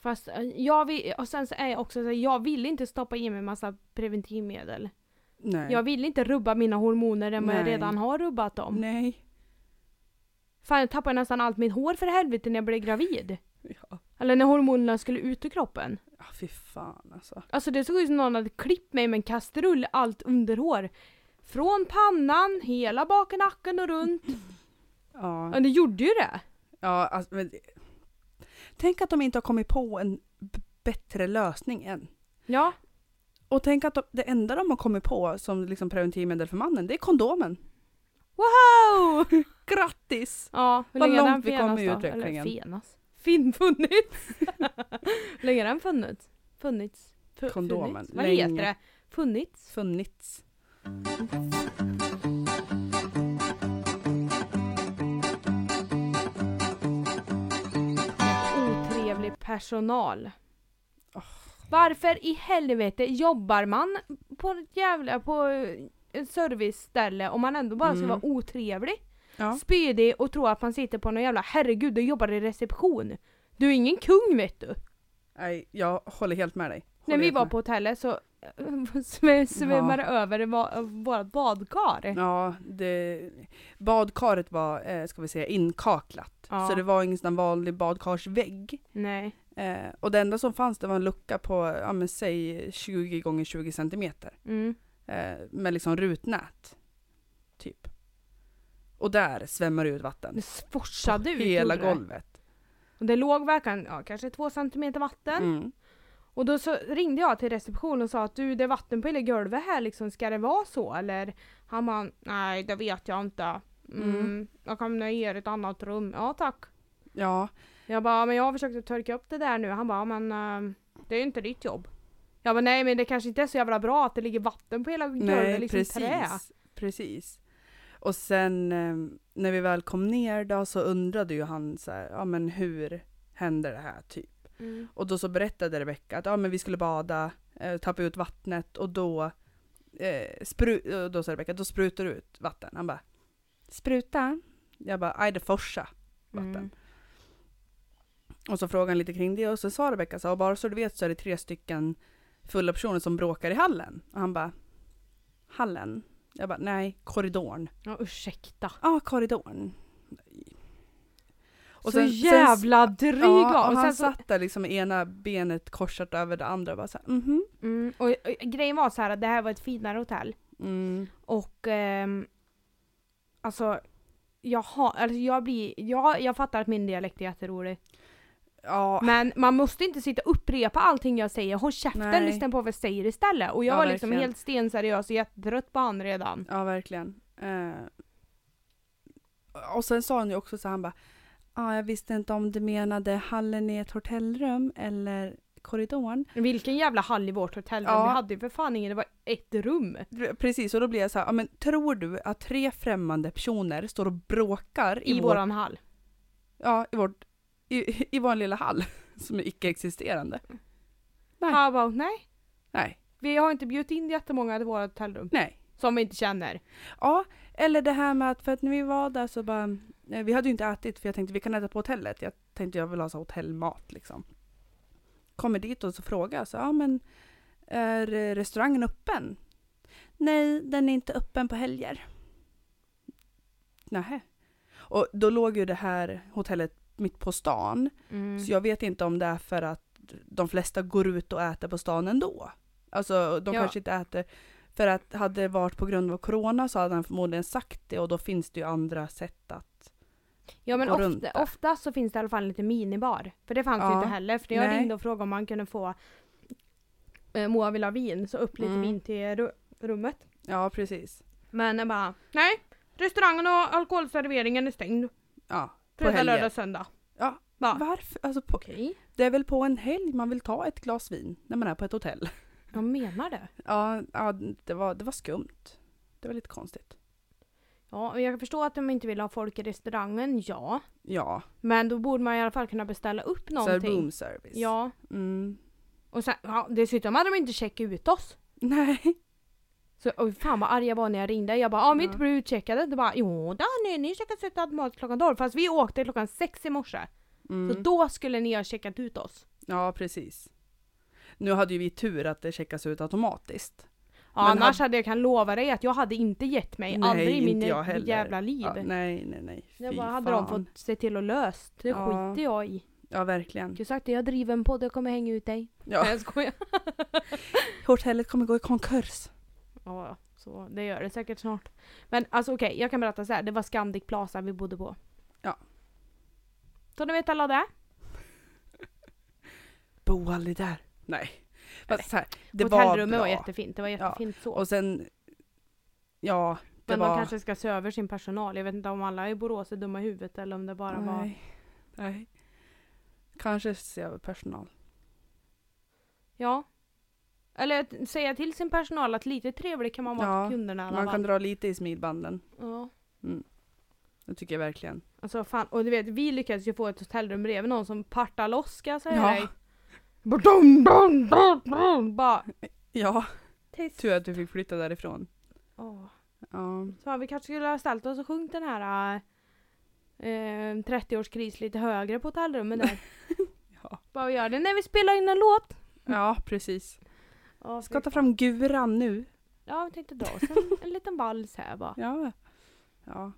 Speaker 1: Fast eh, jag vill, och sen så är jag också så här, jag vill inte stoppa i mig massa preventivmedel.
Speaker 2: Nej.
Speaker 1: Jag vill inte rubba mina hormoner än vad jag
Speaker 2: Nej.
Speaker 1: redan har rubbat dem.
Speaker 2: Nej.
Speaker 1: Fan jag tappade nästan allt mitt hår för helvete när jag blev gravid.
Speaker 2: Ja.
Speaker 1: Eller när hormonerna skulle ut ur kroppen.
Speaker 2: ja, Ah, fy fan alltså.
Speaker 1: Alltså det såg ut som någon hade klippt mig med en kastrull allt underhår. Från pannan, hela bak i nacken och runt.
Speaker 2: Ja.
Speaker 1: Ja det gjorde ju det.
Speaker 2: Ja, alltså, men... Tänk att de inte har kommit på en b- bättre lösning än.
Speaker 1: Ja.
Speaker 2: Och tänk att de, det enda de har kommit på som liksom preventivmedel för mannen, det är kondomen.
Speaker 1: Wow!
Speaker 2: Grattis!
Speaker 1: <laughs> Ja, hur
Speaker 2: Vad
Speaker 1: länge har den
Speaker 2: långt vi kom
Speaker 1: fenas
Speaker 2: i
Speaker 1: då?
Speaker 2: utvecklingen.
Speaker 1: Eller fenas? Fin funnits? hur länge har den funnits? Funnits? Fu-
Speaker 2: Kondomen.
Speaker 1: Funnits? Vad
Speaker 2: Länge.
Speaker 1: heter det? Funnits?
Speaker 2: Funnits.
Speaker 1: Otrevlig personal. Varför i helvete jobbar man på ett jävla, på eh, ett serviceställe om man ändå bara ska
Speaker 2: Mm.
Speaker 1: vara otrevlig?
Speaker 2: Ja.
Speaker 1: spydig och tror att man sitter på någon jävla herregud och jobbar i reception. Du är ingen kung vet du.
Speaker 2: Nej, jag håller helt med dig. Håller
Speaker 1: När vi
Speaker 2: helt
Speaker 1: var
Speaker 2: med.
Speaker 1: på hotellet så <laughs> sv- svämmade det över va- vårt badkar.
Speaker 2: Ja, det, badkaret var, eh, ska vi säga, inkaklat.
Speaker 1: Ja.
Speaker 2: Så det var ingen sån där vanlig badkarsvägg.
Speaker 1: Nej.
Speaker 2: Eh, och det enda som fanns det var en lucka på, ja men säg 20 gånger 20 centimeter.
Speaker 1: Mm.
Speaker 2: Eh, med liksom rutnät. Typ. Och där svämmar det ut vatten.
Speaker 1: Det sforsade ut.
Speaker 2: Hela
Speaker 1: gjorde det.
Speaker 2: golvet.
Speaker 1: Och det låg verkligen, ja, kanske två centimeter vatten.
Speaker 2: Mm.
Speaker 1: Och då så ringde jag till receptionen och sa att du det är vatten på hela golvet här liksom, ska det vara så eller? Han bara, nej det vet jag inte. Mm.
Speaker 2: Mm.
Speaker 1: Jag kan ge er ett annat rum. Ja tack.
Speaker 2: Ja,
Speaker 1: Jag bara, men jag har försökt att torka upp det där nu. Han bara, men eh, det är ju inte ditt jobb. Jag bara, nej men det kanske inte är så jävla bra att det ligger vatten på hela golvet,
Speaker 2: nej
Speaker 1: liksom
Speaker 2: precis.
Speaker 1: trä.
Speaker 2: Precis. Och sen eh, när vi väl kom ner då så undrade ju han så här, ja men hur händer det här typ?
Speaker 1: Mm.
Speaker 2: Och då så berättade Rebecka att ja, men vi skulle bada, eh, tappa ut vattnet och då, eh, spru- och då sa Rebecka då sprutar du ut vatten. Han bara spruta? Jag bara aj det forsa vatten.
Speaker 1: Mm.
Speaker 2: Och så frågade han lite kring det och så sa Rebecka så här, och bara så du vet så är det tre stycken fulla personer som bråkar i hallen. Och han bara hallen? Jag bara nej korridoren.
Speaker 1: Ja ursäkta.
Speaker 2: Ja ah, korridoren.
Speaker 1: Och
Speaker 2: Och
Speaker 1: så
Speaker 2: sen- sen-
Speaker 1: jävla dryg
Speaker 2: Ja,
Speaker 1: av-
Speaker 2: och
Speaker 1: och,
Speaker 2: han
Speaker 1: sen så,
Speaker 2: satt där liksom med ena benet korsat över det andra och bara såhär mhm.
Speaker 1: mm, och, och, grejen var så här att det här var ett finare hotell.
Speaker 2: Mm.
Speaker 1: Och ehm, alltså, jag, har, alltså jag, blir, jag, jag fattar att min dialekt är jätterolig.
Speaker 2: Ja,
Speaker 1: Men man måste inte sitta och upprepa allting jag säger. Håll käften,
Speaker 2: Nej.
Speaker 1: lyssna på vad jag säger istället. Och jag
Speaker 2: Ja,
Speaker 1: var liksom
Speaker 2: verkligen.
Speaker 1: helt stenseriös och jättetrött på han redan.
Speaker 2: ja verkligen. Eh, och sen sa han ju också så här, han bara ah, jag visste inte om du menade hallen i ett hotellrum eller korridoren.
Speaker 1: Vilken jävla hall i vårt hotell.
Speaker 2: Mm. Ja.
Speaker 1: Vi hade ju för fan ingen, det var ett rum.
Speaker 2: Precis, och då blir jag så här, ja, men tror du att tre främmande personer står och bråkar
Speaker 1: I,
Speaker 2: i, vår,
Speaker 1: våran hall.
Speaker 2: ja, i, vårt, i, i vår lilla hall <laughs> som är icke-existerande? Nej.
Speaker 1: Han bara, nej.
Speaker 2: Nej,
Speaker 1: Vi har inte bjudit in jättemånga till vårt hotellrum.
Speaker 2: nej.
Speaker 1: Som vi inte känner.
Speaker 2: Ja, eller det här med att, för att när vi var där så bara, eh, vi hade ju inte ätit för jag tänkte vi kan äta på hotellet. Jag tänkte jag vill ha så här hotellmat liksom. Kommer dit och så frågar jag så, ja men är eh, restaurangen öppen? Nej, den är inte öppen på helger. Nähä. Och då låg ju det här hotellet mitt på stan.
Speaker 1: Mm.
Speaker 2: Så jag vet inte om det är för att de flesta går ut och äter på stan ändå. Alltså de
Speaker 1: Ja.
Speaker 2: kanske inte äter. För att hade det varit på grund av corona så hade han förmodligen sagt det och då finns det ju andra sätt att...
Speaker 1: Ja men
Speaker 2: går runt
Speaker 1: ofta,
Speaker 2: där.
Speaker 1: ofta så finns det i alla fall lite minibar. För det fanns ju
Speaker 2: Ja.
Speaker 1: inte heller. För när jag
Speaker 2: Nej.
Speaker 1: ringde och frågade om man kunde få eh, Moa vill ha vin, så upp lite
Speaker 2: Mm.
Speaker 1: vin till ru- rummet.
Speaker 2: Ja precis.
Speaker 1: Men jag bara, nej. Restaurangen och alkoholserveringen är stängd.
Speaker 2: Ja. På
Speaker 1: Fredag,
Speaker 2: helger.
Speaker 1: lördag, söndag.
Speaker 2: Ja,
Speaker 1: Bara,
Speaker 2: Varför? Alltså på,
Speaker 1: Okej,
Speaker 2: det är väl på en helg man vill ta ett glas vin när man är på ett hotell.
Speaker 1: jag menar det.
Speaker 2: Ja, ja det, var, det var skumt. Det var lite konstigt.
Speaker 1: Ja, och jag kan förstå att de inte vill ha folk i restaurangen, ja.
Speaker 2: Ja,
Speaker 1: Men då borde man i alla fall kunna beställa upp
Speaker 2: så här
Speaker 1: någonting.
Speaker 2: room service.
Speaker 1: Ja.
Speaker 2: Mm. <laughs>
Speaker 1: Och sen, ja, dessutom hade de inte checkat ut oss.
Speaker 2: Nej.
Speaker 1: Så, oj, fan vad arg jag var när jag ringde. Jag bara, om vi inte
Speaker 2: Ja.
Speaker 1: blir utcheckade. Det bara, jo då, ni, ni checkas ut automatiskt klockan 12. Fast vi åkte klockan sex i morse.
Speaker 2: Mm.
Speaker 1: Så då skulle ni ha checkat ut oss.
Speaker 2: Ja, precis. Nu hade ju vi tur att det checkas ut automatiskt.
Speaker 1: Ja,
Speaker 2: Men
Speaker 1: annars hade jag kan lova dig att jag hade inte gett mig.
Speaker 2: Nej,
Speaker 1: aldrig i
Speaker 2: inte
Speaker 1: min
Speaker 2: jag heller.
Speaker 1: jävla liv.
Speaker 2: Ja, nej, nej, nej.
Speaker 1: det
Speaker 2: Fy
Speaker 1: bara hade de
Speaker 2: fan.
Speaker 1: fått se till att löst. Det
Speaker 2: Ja.
Speaker 1: skiter jag i.
Speaker 2: Ja, verkligen.
Speaker 1: Jag sagt det, jag driver en podd, jag kommer hänga ut dig.
Speaker 2: Ja.
Speaker 1: Nej, jag skojar.
Speaker 2: Hotellet kommer gå i konkurs.
Speaker 1: Ja, ja, så det gör det säkert snart. Men alltså okej, jag kan berätta så här. Det var Scandic Plaza vi bodde på.
Speaker 2: Ja.
Speaker 1: Så ni vet alla det?
Speaker 2: Bo aldrig där. Nej. Fast så här, det var
Speaker 1: Hotellrummet
Speaker 2: bra.
Speaker 1: var, jättefint. Det var jättefint så.
Speaker 2: Och sen, ja, det
Speaker 1: Men
Speaker 2: var...
Speaker 1: de kanske ska se över sin personal. Jag vet inte om alla i Borås är dumma i huvudet eller om det bara var...
Speaker 2: nej. nej. Kanske se över personal.
Speaker 1: Ja. Eller att säga till sin personal att lite trevlig kan man vara
Speaker 2: Ja,
Speaker 1: till kunderna i alla
Speaker 2: Man
Speaker 1: fall.
Speaker 2: kan dra lite i smilbanden.
Speaker 1: Ja.
Speaker 2: Det tycker jag verkligen.
Speaker 1: Alltså fan, och du vet vi lyckades ju få ett hotellrum bredvid någon som partar loss ska jag säga
Speaker 2: Ja.
Speaker 1: dig. Bara dum, dum, dum, dum, Bara
Speaker 2: Ja,
Speaker 1: tyst. Mm.
Speaker 2: tur att du fick flytta därifrån.
Speaker 1: Åh.
Speaker 2: Ja,
Speaker 1: Så vi kanske skulle ha ställt oss och sjungit den här eh, 30-årskris lite högre på hotellrummet där.
Speaker 2: <laughs> Ja.
Speaker 1: Bara gör det när vi spelar in en låt.
Speaker 2: ja precis.
Speaker 1: Ja,
Speaker 2: Ska ta fram guran nu.
Speaker 1: Ja, vi tänkte dra oss
Speaker 2: <laughs>
Speaker 1: en, en liten vals här bara.
Speaker 2: Ja. Ja.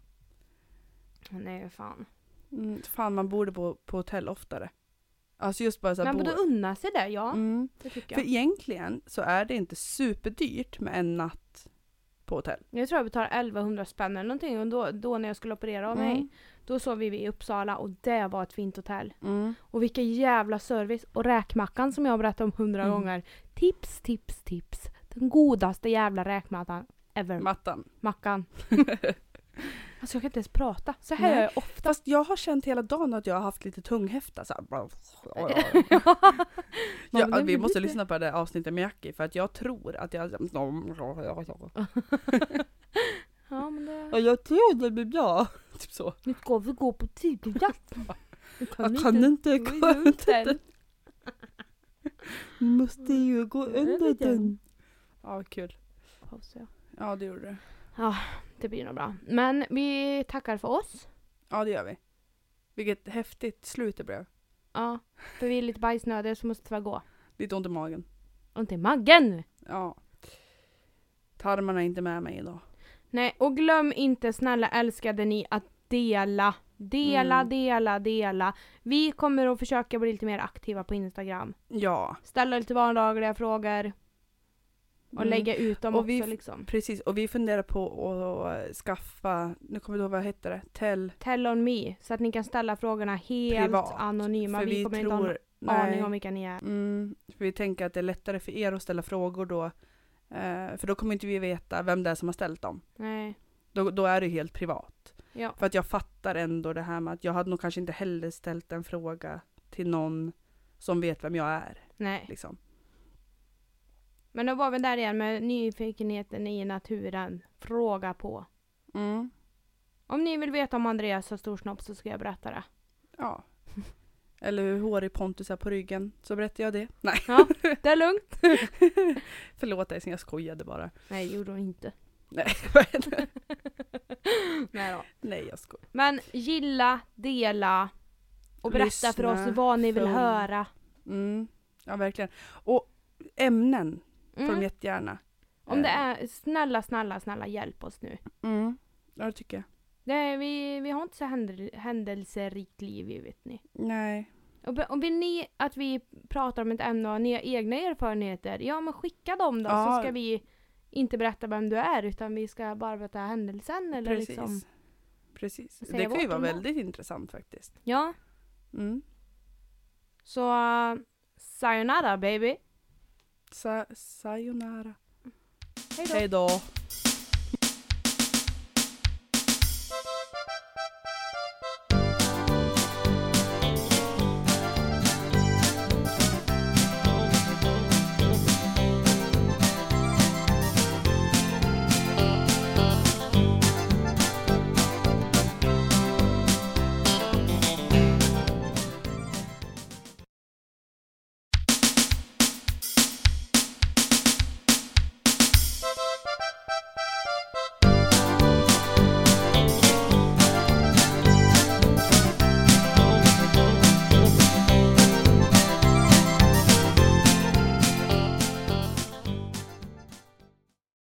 Speaker 1: Nej fan.
Speaker 2: Mm, fan, man borde bo på hotell oftare. Alltså just bara så här
Speaker 1: Man
Speaker 2: bo...
Speaker 1: borde unna sig det, ja.
Speaker 2: mm.
Speaker 1: Det tycker
Speaker 2: För
Speaker 1: jag.
Speaker 2: egentligen så är det inte superdyrt med en natt på hotell.
Speaker 1: Jag tror jag betalade 1100 spänn eller någonting och då, då när jag skulle operera av
Speaker 2: Mm.
Speaker 1: mig, då sov vi i Uppsala och det var ett fint hotell.
Speaker 2: Mm.
Speaker 1: Och vilken jävla service! Och räkmackan som jag har berättat om hundra
Speaker 2: Mm.
Speaker 1: gånger. Tips, tips, tips. Den godaste jävla räkmackan ever.
Speaker 2: Mattan. <laughs>
Speaker 1: Mackan. alltså jag kan inte ens prata. Så här
Speaker 2: Nej.
Speaker 1: gör jag
Speaker 2: <laughs>
Speaker 1: ofta.
Speaker 2: Fast jag har känt hela dagen att jag har haft lite tunghäfta. Så här. <laughs>
Speaker 1: Ja, men
Speaker 2: ja,
Speaker 1: det
Speaker 2: vi
Speaker 1: blir
Speaker 2: måste
Speaker 1: lite-
Speaker 2: lyssna på det här avsnittet med Jackie för att jag tror att jag...
Speaker 1: <laughs> Ja men det...
Speaker 2: Ja, jag tror det blir bra. <laughs> Typ så.
Speaker 1: Nu ska vi gå på tigerjakt. Jag
Speaker 2: Jag kan inte gå under den. <laughs> Måste ju gå under den. Ja, kul.
Speaker 1: Paus, ja.
Speaker 2: Ja, det gjorde du.
Speaker 1: Det blir nog bra. Men vi tackar för oss.
Speaker 2: Ja, det gör vi. Vilket häftigt slut det blev.
Speaker 1: Ja, för vi är lite bajsnödiga så måste vi gå.
Speaker 2: Lite ont i magen.
Speaker 1: Och till Maggen!
Speaker 2: Ja. Tarmarna är inte med mig idag.
Speaker 1: Nej, och glöm inte snälla älskade ni att dela. Dela,
Speaker 2: Mm.
Speaker 1: dela, dela. Vi kommer att försöka bli lite mer aktiva på Instagram.
Speaker 2: Ja.
Speaker 1: Ställa lite vardagliga frågor och
Speaker 2: Mm.
Speaker 1: lägga ut dem
Speaker 2: Och
Speaker 1: också
Speaker 2: vi f-
Speaker 1: liksom.
Speaker 2: Precis, och vi funderar på att skaffa, nu kommer du ihåg vad hette det? Tell.
Speaker 1: Tell on me, så att ni kan ställa frågorna helt
Speaker 2: Privat,
Speaker 1: anonyma.
Speaker 2: för
Speaker 1: Vi,
Speaker 2: vi
Speaker 1: kommer
Speaker 2: tror,
Speaker 1: inte ha en aning om vilka ni är.
Speaker 2: Mm, för vi tänker att det är lättare för er att ställa frågor då. Eh, för då kommer inte vi veta vem det är som har ställt dem.
Speaker 1: Nej.
Speaker 2: Då, då är det ju helt privat.
Speaker 1: Ja.
Speaker 2: För att jag fattar ändå det här med att jag hade nog kanske inte heller ställt en fråga till någon som vet vem jag är.
Speaker 1: Nej.
Speaker 2: Liksom.
Speaker 1: Men då var vi där igen med nyfikenheten i naturen. Fråga på.
Speaker 2: Mm.
Speaker 1: Om ni vill veta om Andreas har stor snopp så ska jag berätta det.
Speaker 2: Ja. <laughs> Eller hur hårig Pontus är på ryggen, så berättar jag det. <laughs> Nej,
Speaker 1: Det är lugnt.
Speaker 2: förlåt dig, jag skojade bara. <laughs>
Speaker 1: Nej, det gjorde hon inte.
Speaker 2: Nej, vad är det?
Speaker 1: Nej då.
Speaker 2: Nej, jag skojar.
Speaker 1: Men gilla, dela och berätta
Speaker 2: Lyssna,
Speaker 1: för oss vad ni vill
Speaker 2: följ.
Speaker 1: höra.
Speaker 2: Mm. Ja, verkligen. Och ämnen får de
Speaker 1: Mm.
Speaker 2: jättegärna. eh,
Speaker 1: Om det är, snälla, snälla, snälla hjälp oss nu.
Speaker 2: Mm. Ja, det tycker jag.
Speaker 1: Det är, vi, vi har inte så händel, händelserikt liv, ju, vet ni.
Speaker 2: Nej.
Speaker 1: Och be- Om vill ni att vi pratar om ett ämne och har ni har egna erfarenheter, ja men skicka dem då
Speaker 2: Ja.
Speaker 1: så ska vi inte berätta vem du är utan vi ska bara berätta händelsen eller
Speaker 2: Precis.
Speaker 1: liksom.
Speaker 2: Precis.
Speaker 1: Säga
Speaker 2: Det kan ju
Speaker 1: vart
Speaker 2: vara
Speaker 1: de var.
Speaker 2: väldigt intressant faktiskt.
Speaker 1: Ja,
Speaker 2: Mm.
Speaker 1: så uh, sayonara baby.
Speaker 2: Sa sayonara.
Speaker 1: Hej då.
Speaker 2: Hej då.